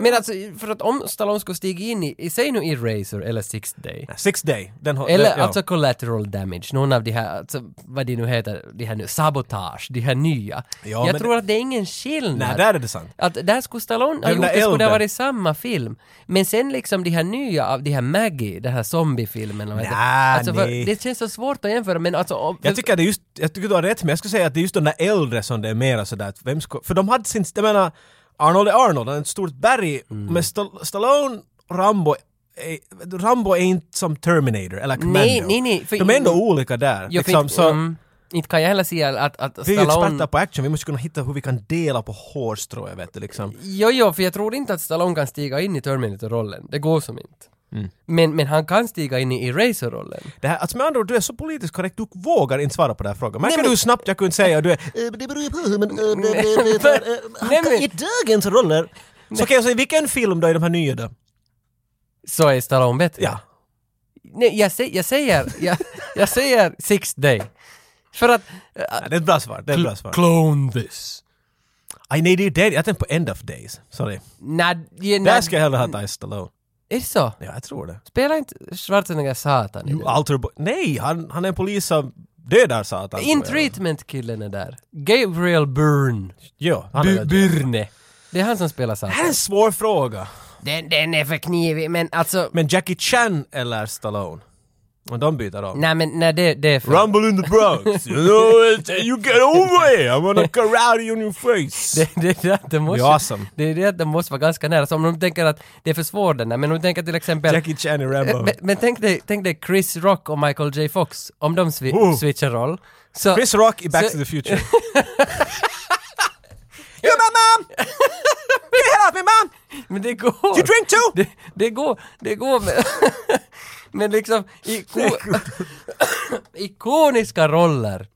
Men alltså, för att om Stallone skulle stiga in i, i säg nu i Razor eller Sixth Day,
Nej, Six Day. Den har,
eller
den, ja.
alltså collateral damage, någon av de här, alltså, vad de nu heter, de här nu, sabotage, de här nya.
Ja,
jag
men
tror att det är ingen skillnad.
Nej, där är det sant.
Att där skulle Stallone ha
Den
gjort
där
det, skulle det
äldre.
ha varit samma film. Men sen liksom de här nya, av de här Maggie, den här zombiefilmen. eller vad heter det?
Nej,
alltså, för,
nej.
Det känns så svårt att jämföra men alltså... om-
Jag tycker det är just, jag tycker du har rätt men jag skulle säga att det är just de där äldre som det är mera sådär att vem ska, för de hade sin, jag menar Arnold är Arnold, han är ett stort berg,
Mm.
men Stall- Stallone, Rambo, är, Rambo är inte som Terminator eller Commando.
Nej, nej, nej, för-
de är ändå olika där.
jag
liksom,
fick-
så,
mm, inte kan jag heller säga att, att
Vi är ju experter
Stallone...
på action, vi måste kunna hitta hur vi kan dela på hårstrå, jag vet du liksom.
Jo, jo, för jag tror inte att Stallone kan stiga in i Terminator-rollen. Det går som inte.
Mm.
Men, men han kan stiga in i, i Razor-rollen.
Det här, alltså med andra ord, du är så politiskt korrekt, du vågar inte svara på den här frågan.
Nej,
Märker du
men-
hur snabbt jag kunde säga? Du är,
Eh, men Det beror ju på hur man... eh, det- det- det-
Men-
eh, han
nej,
kan-
men-
I dagens roller...
så okej, okay, vilken film då i de här nya då?
Så är Stallone bättre.
Ja.
Nej, jag, sä- jag säger... Jag, jag säger Six Day. För att... äh,
Ja, Det är ett bra svar, det är ett bra svar.
Clone this.
Aj nej, det är ju det, jag tänkte på End of Days, sorry.
Nej,
Där ska jag hellre ha Dice Stallone.
Är det så?
Ja, jag tror det.
Spelar inte Schwarzenegger Satan i
You
den?
alter boy. Nej, han, han är en polis som dödar satan.
In Treatment-killen är där. Gabriel Byrne.
Jo, han är
Bu-
död.
Byrne. Det är han som spelar
Det
Satan.
här är en svår fråga.
Den, den är för knivig, men alltså...
Men Jackie Chan eller Stallone? Om de byter om.
Nej men nej, det, det är för...
Rumble in the Bronx, you know it, you get over here, I'm gonna karate on
<laughs>
your face.
<laughs> Det, det, det, det, måste,
Det är awesome.
det är det att de måste vara ganska nära. Så om de tänker att det är för svår den här, men om de tänker till exempel... Eh,
Jackie Chan i Rambo.
Men, men tänk, dig, tänk dig Chris Rock och Michael J Fox, om de swi-
Oh.
switchar roll. Så,
Chris Rock i Back
Så-
to
<laughs>
the Future. <laughs> You're my mom! Get the hell off me mom!
men det går! <laughs>
You drink too!
det, det går, det går <laughs> men, <coughs> men liksom iko, ikoniska roller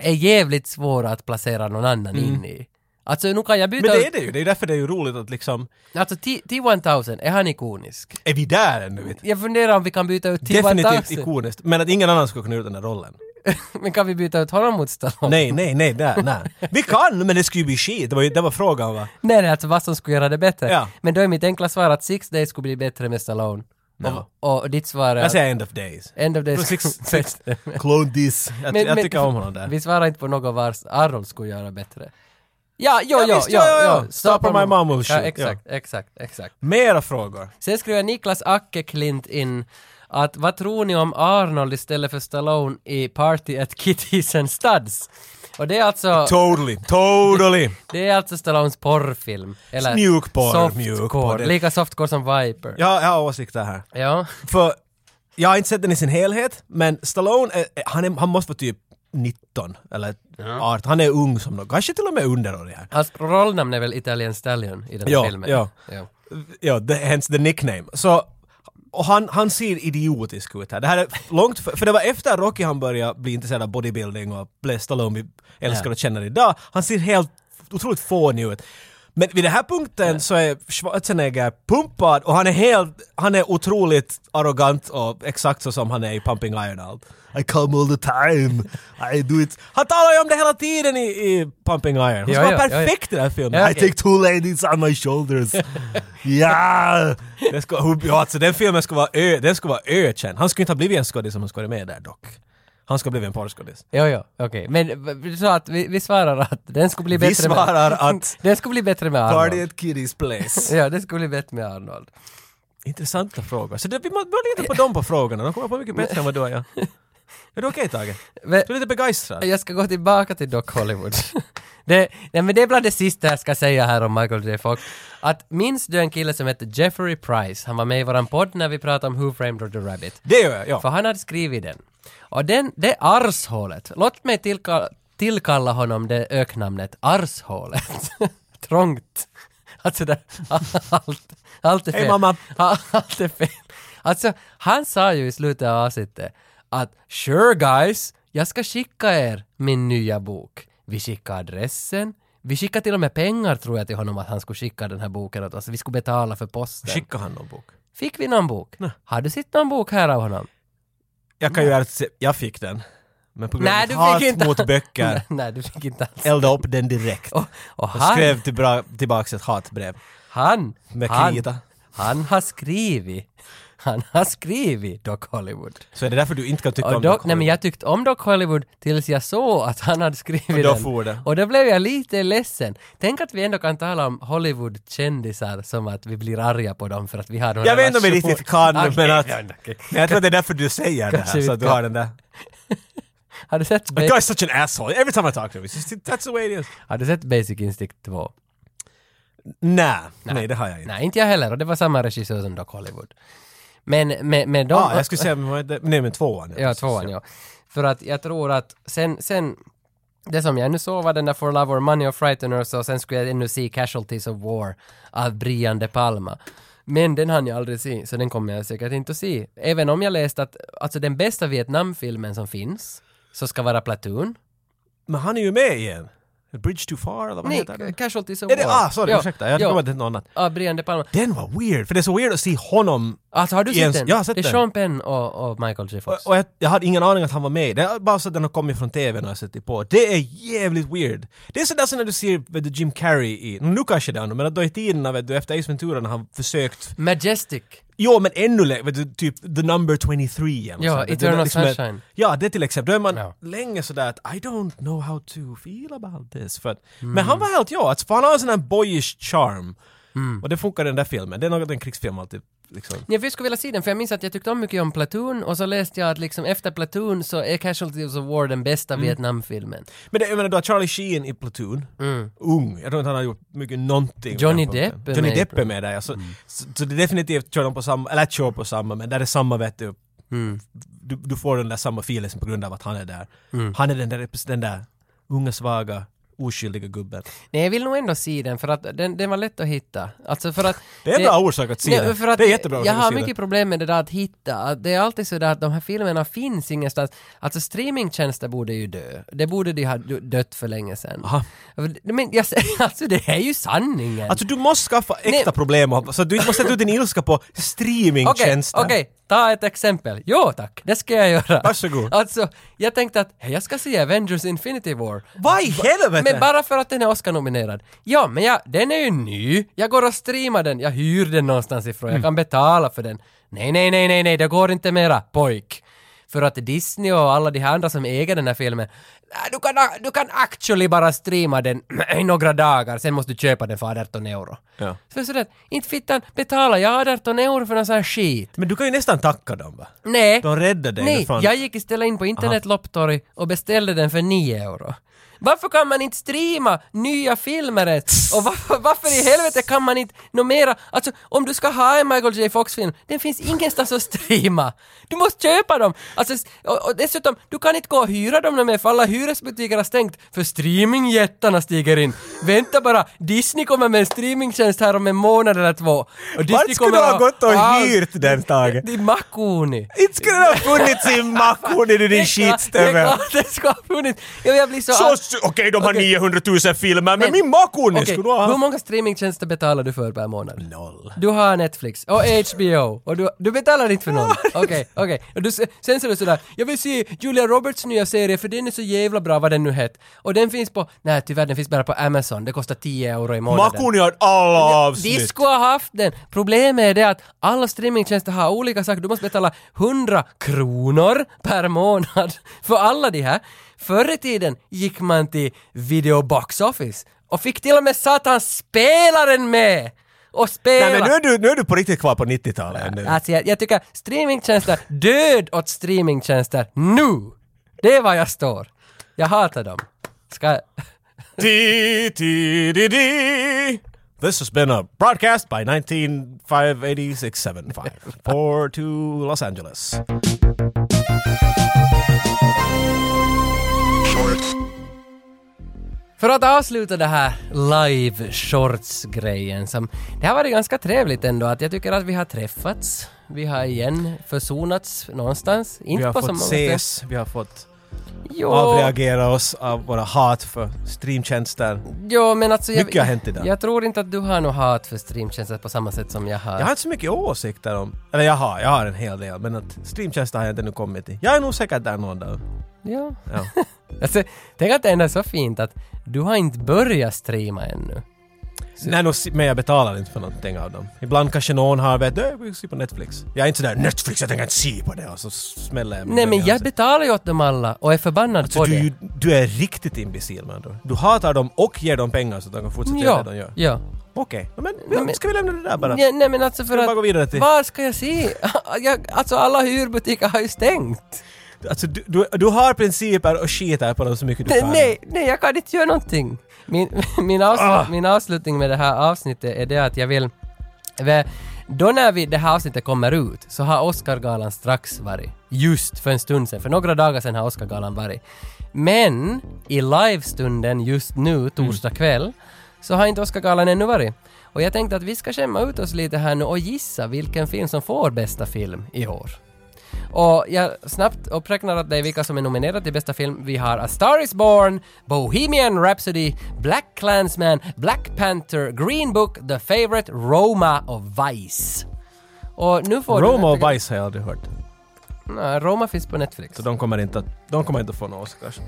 är jävligt svåra att placera någon annan in i. Alltså nu kan jag byta...
Mm. Men det är det ju, det är därför det är ju roligt att liksom,
Alltså T- T-1000, är han ikonisk?
är vi där ännu? Vet? du?
Jag funderar om vi kan byta ut <laughs>
Definitivt
T-1000.
ikoniskt, men att ingen annan skulle kunna göra den här rollen.
Men kan vi byta ut honom mot Stallone?
Nej, nej, nej, där, nej. Vi kan, men det skulle ju bli skit, det var ju, det var frågan va?
Nej, nej, alltså vad som skulle göra det bättre.
Ja.
Men då är mitt enkla svar att Six Days skulle bli bättre med Stallone.
No.
Och, och ditt svar är
Jag
att
säger end of days.
End of Days
Six,
skulle-
six,
<laughs>
clone this. Jag, jag tycker om honom där.
Vi svarar inte på något var Arnold skulle göra bättre. Ja, jo, jo,
visst,
jo,
ja, ja,
jo.
ja. Stop or my mom will
Ja,
shoot,
exakt, exakt, exakt.
Mera frågor.
Sen skrev jag Niklas Acke Klint in att vad tror ni om Arnold istället för Stallone i Party at Kitties and Studs? Och det är alltså,
Totally, totally.
det är alltså Stallones porrfilm. Eller
Mjukporr, mjukporr.
softcore.
Det-
Lika softcore som Viper.
Jag, jag har åsikter här.
Ja.
För jag har inte sett den i sin helhet, men Stallone, är, han, är, han måste vara typ 19 eller 18. Han är ung som något, kanske till och med underårig här.
Hans rollnamn är väl Italian Stallion i den här
Ja,
filmen?
ja.
ja.
Ja, the, hence the nickname. Så, och han, han ser idiotisk ut här. Det här är långt, för, för det var efter Rocky han började bli intresserad av bodybuilding och blev Stallone vi älskar och känner idag. Han ser helt otroligt fånig ut. Men vid den här punkten så är Schwarzenegger pumpad och han är helt, han är otroligt arrogant och exakt så som han är i Pumping Iron Out. I come all the time, I do it. Han talar ju om det hela tiden i, i Pumping Iron. Han ska
Ja,
vara
ja, ja, ja.
perfekt i den här filmen.
Ja,
I
okej.
take two ladies on my <laughs> shoulders. ja! Det ska, ja, alltså den filmen ska vara, ö, den ska vara ökänd. Han skulle inte ha blivit en skådis om han skulle vara med där dock. Han ska ha blivit en porrskådis.
Jo, jo, okej. Men v- du sa att vi, vi svarar att den skulle bli
Vi
bättre
svarar
med...
att-
<laughs> Den skulle bli bättre med Arnold.
Party at Kitty's place.
Ja, den skulle bli bättre med Arnold.
<laughs> Intressanta frågor. Så det, vi må- bör lita på dem på frågorna. De kommer på mycket bättre än vad du och <laughs> jag. Är du okej Tage?
Men,
Du är lite begeistrad.
jag ska gå tillbaka till Doc Hollywood. <laughs> det, nej, men det är bland det sista jag ska säga här om Michael J. Fox. Att minns du en kille som hette Jeffrey Price? Han var med i våran podd när vi pratade om Who Framed Roger Rabbit.
Det gör jag,
För
ja.
han hade skrivit den. Och den, det arshålet, låt mig tillkalla, tillkalla honom det öknamnet arshålet. <laughs> Trångt. Alltså där, <laughs> allt, allt är fel. <laughs>
Hej, mamma.
A- Allt är fel. Alltså, han sa ju i slutet av avsnittet att “Sure guys, jag ska skicka er min nya bok”. Vi skickade adressen, vi skickade till och med pengar tror jag till honom att han skulle skicka den här boken åt oss. Vi skulle betala för posten.
Skickar han någon bok?
Fick vi någon bok? Har du sett någon bok här av honom?
Jag kan ju ärligt säga, jag fick den. Men på grund
Nej,
av
du
mitt
fick
hat
inte.
mot böcker <laughs>
Nej, <laughs> Nej, du fick inte alls.
elda upp den direkt.
Och, och
Och
han,
skrev tillbra, tillbaks ett hatbrev.
han,
Med
han,
krita.
han har skrivit, han har skrivit Doc Hollywood.
Så är det därför du inte kan tycka
Och
om
Doc, nej
Hollywood?
men jag tyckte om Doc Hollywood tills jag såg att han hade skrivit
Och då
den.
for det.
Och då blev jag lite ledsen. Tänk att vi ändå kan tala om Hollywood-kändisar som att vi blir arga på dem för att vi har någon
Jag vet inte om vi
relation.
riktigt
<laughs>
kan,
Okej,
men att...
ja, okej.
Men jag tror att det är därför du säger det
Kanske
här, så att
inte.
du har den där...
Har du sett,
The
ba-
guy's such an asshole, every time I talk to him, it's just, that's the way it is.
har du sett Basic Instinct 2?
Nej, nej det har jag inte.
Nej, inte jag heller. Och det var samma regissör som Doc Hollywood. Men, men, men de...
Ah, jag skulle säga, men vad är det- nej men tvåan.
Ja, tvåan ja. För att jag tror att sen, sen det som jag nu såg var den där For Love or Money och Frighteners och sen skulle jag ännu se Casualties of War av Brian De Palma. Men den hann jag aldrig se, så den kommer jag säkert inte att se. Även om jag läst att alltså den bästa Vietnamfilmen som finns, så ska vara Platoon.
Men han är ju med igen. A Bridge too far, eller vad
Nej,
heter den?
Casualties of
Är det,
War.
ah, sorry, ursäkta. Jag kommer till något annat.
Ja, Brian De Palma.
Den var weird, för det är så weird att se honom.
Alltså har du sett
Jens,
den?
jag har sett
det är
den.
Sean Penn och, och Michael J. Fox.
Och, och jag, jag hade ingen aning att han var med. Det är bara så att den har kommit från TVn och jag sett det på. Det är jävligt weird. Det är sådär som när du ser vet du, Jim Carrey i, nu kanske det är honom, men att då i tiderna vet du, efter Ace Ventura när han försökt
Majestic.
Jo, men ännu längre. vet du, Typ the number 23. eller
Ja,
sånt. Det- det-
Eternal
liksom ett-
Sunshine.
ja, det till exempel. Då är man
Ja.
länge sådär att I don't know how to feel about this. För att,
Mm.
Men han var helt ja, alltså, för han har en sån här boyish charm.
Mm.
Och det funkar i den där filmen. Det är något en krigsfilm alltid liksom.
Ja, för jag skulle vilja se den, för jag minns att jag tyckte om mycket om Platoon och så läste jag att liksom efter Platoon så är Casualties of War den bästa
Mm.
Vietnamfilmen.
Men det, jag menar, du har Charlie Sheen i Platoon. Ung. Jag tror inte han har gjort mycket någonting. på
Mm. Johnny
den punkten.
Depp är
Johnny
med i Mm.
Depp är med där, ja. Så, så, så det är definitivt kör de på samma, eller kör på samma, men där är samma vet du.
Mm.
Du,
Mm.
du får den där samma filen på grund av att han är där. Han är den där, repres- den där unga svaga oskyldiga gubben.
Nej, jag vill nog ändå se den för att den, den var lätt att hitta. Alltså för att...
<laughs> Det är en bra orsak att se
Nej,
det.
för att
det är jättebra
Jag
orsak att
har
se
mycket problem med det där att hitta. Att Det är alltid så där att de här filmerna finns ingenstans. Alltså streamingtjänster borde ju dö. Det borde de ha dö- dött för länge sedan.
det. Aha.
Men jag, säger- <laughs> alltså det här är ju sanningen.
Alltså du måste skaffa äkta
Nej.
problem och- så att du inte måste sätta ut din ilska på
Okej,
streamingtjänster.
okej, ta ett exempel. Jo tack, det ska jag göra.
Varsågod.
Alltså, jag tänkte att hej, jag ska se Avengers Infinity War.
Vad i helvete!
Men bara för att den är Oscar-nominerad. Ja, men jag, den är ju ny. Jag går och streamar den. Jag hyr den någonstans ifrån. Jag
Mm.
kan betala för den. Nej, nej, nej, nej, nej, det går inte mera, pojk. För att Disney och alla de här andra som äger den här filmen, "Ah, du kan, du kan actually bara streama den <clears throat> i några dagar, sen måste du köpa den för 18 euro.
Ja.
Så sådär, inte fittan, betala jag 18 euro för någon sån här skit.
Men du kan ju nästan tacka dem va?
Nej.
De räddade dig
Nej,
från-
jag gick istället in på internet Lopptorg och beställde den för 9 euro. Varför kan man inte streama nya filmer ens? Och varför, varför i helvete kan man inte nomera? Alltså, om du ska ha en Michael J Fox-film, den finns ingenstans att streama. Du måste köpa dem! Alltså, s- och, och dessutom, du kan inte gå och hyra dem nu mer, för alla hyresbutiker har stängt, för streamingjättarna stiger in. Vänta bara, Disney kommer med en streamingtjänst här om en månad eller två. Och Disney
Vart skulle
kommer
du ha gått och
allt.
hyrt
<laughs>
den taget?
Det är Makoni!
Inte skulle det ha funnits i mackor i din
Det är
skitstövel!
klart det ska ha funnits. Ja, jag blir så...
Så,
arg.
s- okej, de har
Okej.
900 000 filmer, men,
Men-
min makon
Okej,
skulle du ha
Hur
haft
många streamingtjänster betalar du för per månad?
noll.
Du har Netflix och HBO och du, du betalar inte för någon. Okej, okej. Och du s- Sen så är du sådär, jag vill se Julia Roberts nya serie för den är så jävla bra vad den nu hette. Och den finns på, nej tyvärr den finns bara på Amazon, det kostar 10 euro i månaden.
Makoni har alla
Vi
avsnitt.
skulle ha haft den. Problemet är det att alla streamingtjänster har olika saker. Du måste betala 100 kronor per månad <laughs> för alla de här. Förr i tiden gick man till Video Box Office och fick till och med satans spelaren med! Och spela!
Nej men nu är, du, nu är du på riktigt kvar på 90-talet ännu.
Alltså jag, jag tycker streamingtjänster, död åt streamingtjänster nu! Det är vad jag står. Jag hatar dem. Ska...
Di, di, di, di. This has been a broadcast by 19586754 for to Los Angeles.
Shorts.
För att avsluta det här live shorts-grejen som... Det har varit ganska trevligt ändå att jag tycker att vi har träffats. Vi har igen försonats någonstans.
Vi
Inte
har
på så många
fått ses, vi har fått
Jo,
avreagera oss av våra hat för streamtjänster.
jo, men alltså...
Mycket har hänt idag.
Jag tror inte att du har något hat för streamtjänster på samma sätt som jag har.
Jag har inte så mycket åsikter om, eller jag har, jag har en hel del, men att streamtjänster har jag inte nu kommit till. Jag är nog säkert där någon dag.
Ja. <laughs>
Ja.
Alltså, tänk att det ändå är så fint att du har inte börjat streama ännu.
Nej, nog, men jag betalar inte för någonting av dem. Ibland kanske någon har vet du, "Äh, vi ser på Netflix. Jag är inte sådär Netflix, jag tänker inte se på det och så smäller jag mig
Nej,
själv
men
i
jag
ansiktet.
betalar ju åt dem alla och är förbannad
Så
på
du, är
det.
ju- du är riktigt imbecill man då. Du hatar dem och ger dem pengar så att de kan fortsätta göra
Ja,
det de gör.
ja.
Okej, ja, men,
Nej, men-
ska vi lämna det där bara?
Nej, nej men alltså för
vi
att...
bara gå vidare till-
Var ska jag se? <laughs> Jag, alltså alla hyrbutiker har ju stängt.
Alltså, du, du, du har principer och skiter på dem så mycket du
Nej,
kan.
nej, nej, jag kan inte göra någonting. Min, <laughs> min, avslut,
Ah.
min avslutning med det här avsnittet är det att jag vill... vä- Då när vi, det här avsnittet kommer ut så har Oscargalan strax varit. Just för en stund sedan. För några dagar sedan har Oscargalan varit. Men i livestunden just nu, torsdag
Mm.
kväll, så har inte Oscargalan ännu varit. Och jag tänkte att vi ska skämma ut oss lite här nu och gissa vilken film som får bästa film i år. Och jag snabbt uppräknar åt dig vilka som är nominerade till bästa film. Vi har A Star Is Born, Bohemian Rhapsody, Black Klansman, Black Panther, Green Book, The Favourite, Roma och Vice. Och nu får
Roma
du...
och Vice har jag aldrig hört.
Nej, Roma finns på Netflix.
Så de kommer inte att, de kommer inte att få några Oscars.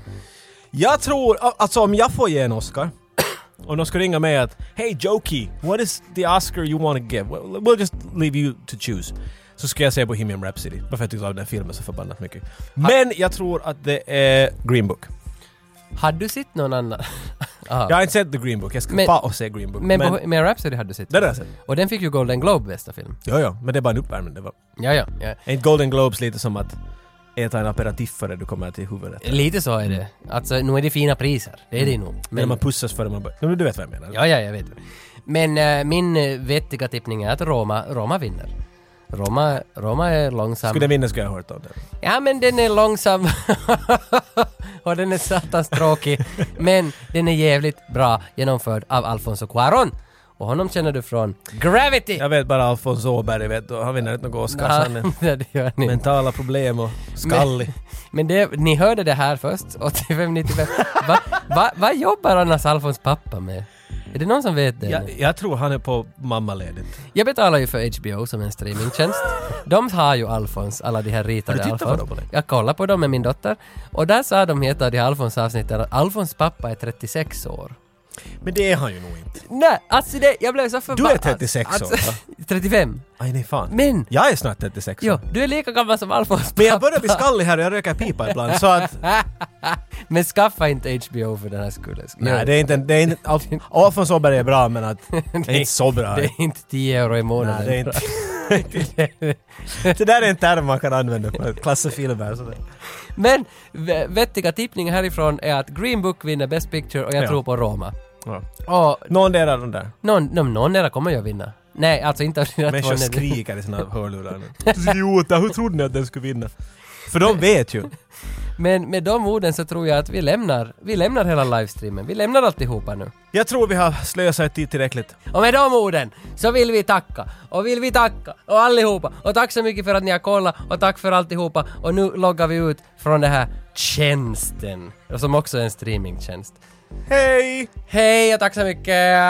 Jag tror, alltså om jag får ge en Oscar, <coughs> om de skulle ringa mig att Hey Jokey, what is the Oscar you want to give? Well, we'll just leave you to choose. Så skulle jag säga Bohemian Rhapsody, varför jag tyckte om den filmen så förbannat mycket. Men jag tror att det är Green Book.
Hade du sett någon annan? <laughs> Ja.
Jag har inte sett The Green Book, jag ska
Men-
fan och se Green Book.
Men,
Men,
Bohe- men Rhapsody hade du sett.
Den har jag sett.
Och den fick ju Golden Globe bästa film.
ja, ja, men det är bara en uppvärmning. Det var,
Ja, ja, ja.
är inte Golden Globes lite som att äta en aperitif före du kommer till huvudet?
Lite så är det. Alltså, nu är det fina priser. Det är det nog.
Eller man pussas före man börjar. Men Du vet vad jag menar?
Ja, ja, jag vet. Men eh, min eh, vettiga tippning är att Roma, Roma vinner. Roma, Roma är långsam.
Skulle jag minnas skulle jag ha hört om det.
Ja men den är långsam <laughs> och den är satans tråkig. Men den är jävligt bra genomförd av Alfonso Cuarón. Och honom känner du från Gravity!
Jag vet bara Alfons Åberg vet du, han vinner inte någon Oscars.
<laughs> Ja,
Han är
det gör ni. Men,
mentala problem och skallig.
men det, ni hörde det här först, 85-95. Va, va, vad jobbar annars Alfons pappa med? Är det någon som vet det?
Jag, jag tror han är på mammaledigt.
Jag betalar ju för HBO som en streamingtjänst. De har ju Alfons, alla de här ritade
Har du tittat på
Alfons.
dem, eller?
Jag kollar på dem med min dotter. Och där sa de i ett av de här Alfons-avsnitten att Alfons pappa är 36 år.
Men det är han ju nog inte.
Nej, alltså det, jag blev så förbannad.
Du är 36 år,
Alltså, <laughs>
va?
35.
Aj nej fan.
Men-
Jag är snart 36 år.
Jo, du är lika gammal som Alfons pappa.
Men jag <laughs> börjar bli skallig här och jag röker pipa ibland så <laughs> att...
Men skaffa inte HBO för den här skullen.
Nej det är inte... Det är inte Alf, Alfons Åberg är bra men att... <laughs> Det är inte så bra.
Det är inte 10 euro i månaden.
Nej, det är inte... <laughs> det där är en term man kan använda på klassefilmer. sådär.
Men v- vettiga tippningar härifrån är att Green Book vinner Best Picture och jag
Ja.
tror på Roma.
Ja.
Och
Någon där av de där.
Någon, någon, någon kommer jag vinna. Nej, alltså inte av dina
Människor
nej.
skriker i sina hörlurar <laughs> nu. Idioter, hur trodde ni att den skulle vinna? För de vet ju.
Men med de orden så tror jag att vi lämnar, vi lämnar hela livestreamen. Vi lämnar alltihopa nu.
Jag tror vi har slösat tid tillräckligt.
Och med de orden så vill vi tacka. Och vill vi tacka. Och allihopa. Och tack så mycket för att ni har kollat. Och tack för alltihopa. Och nu loggar vi ut från den här tjänsten. Som också är en streamingtjänst.
Hej!
Hej och tack så mycket!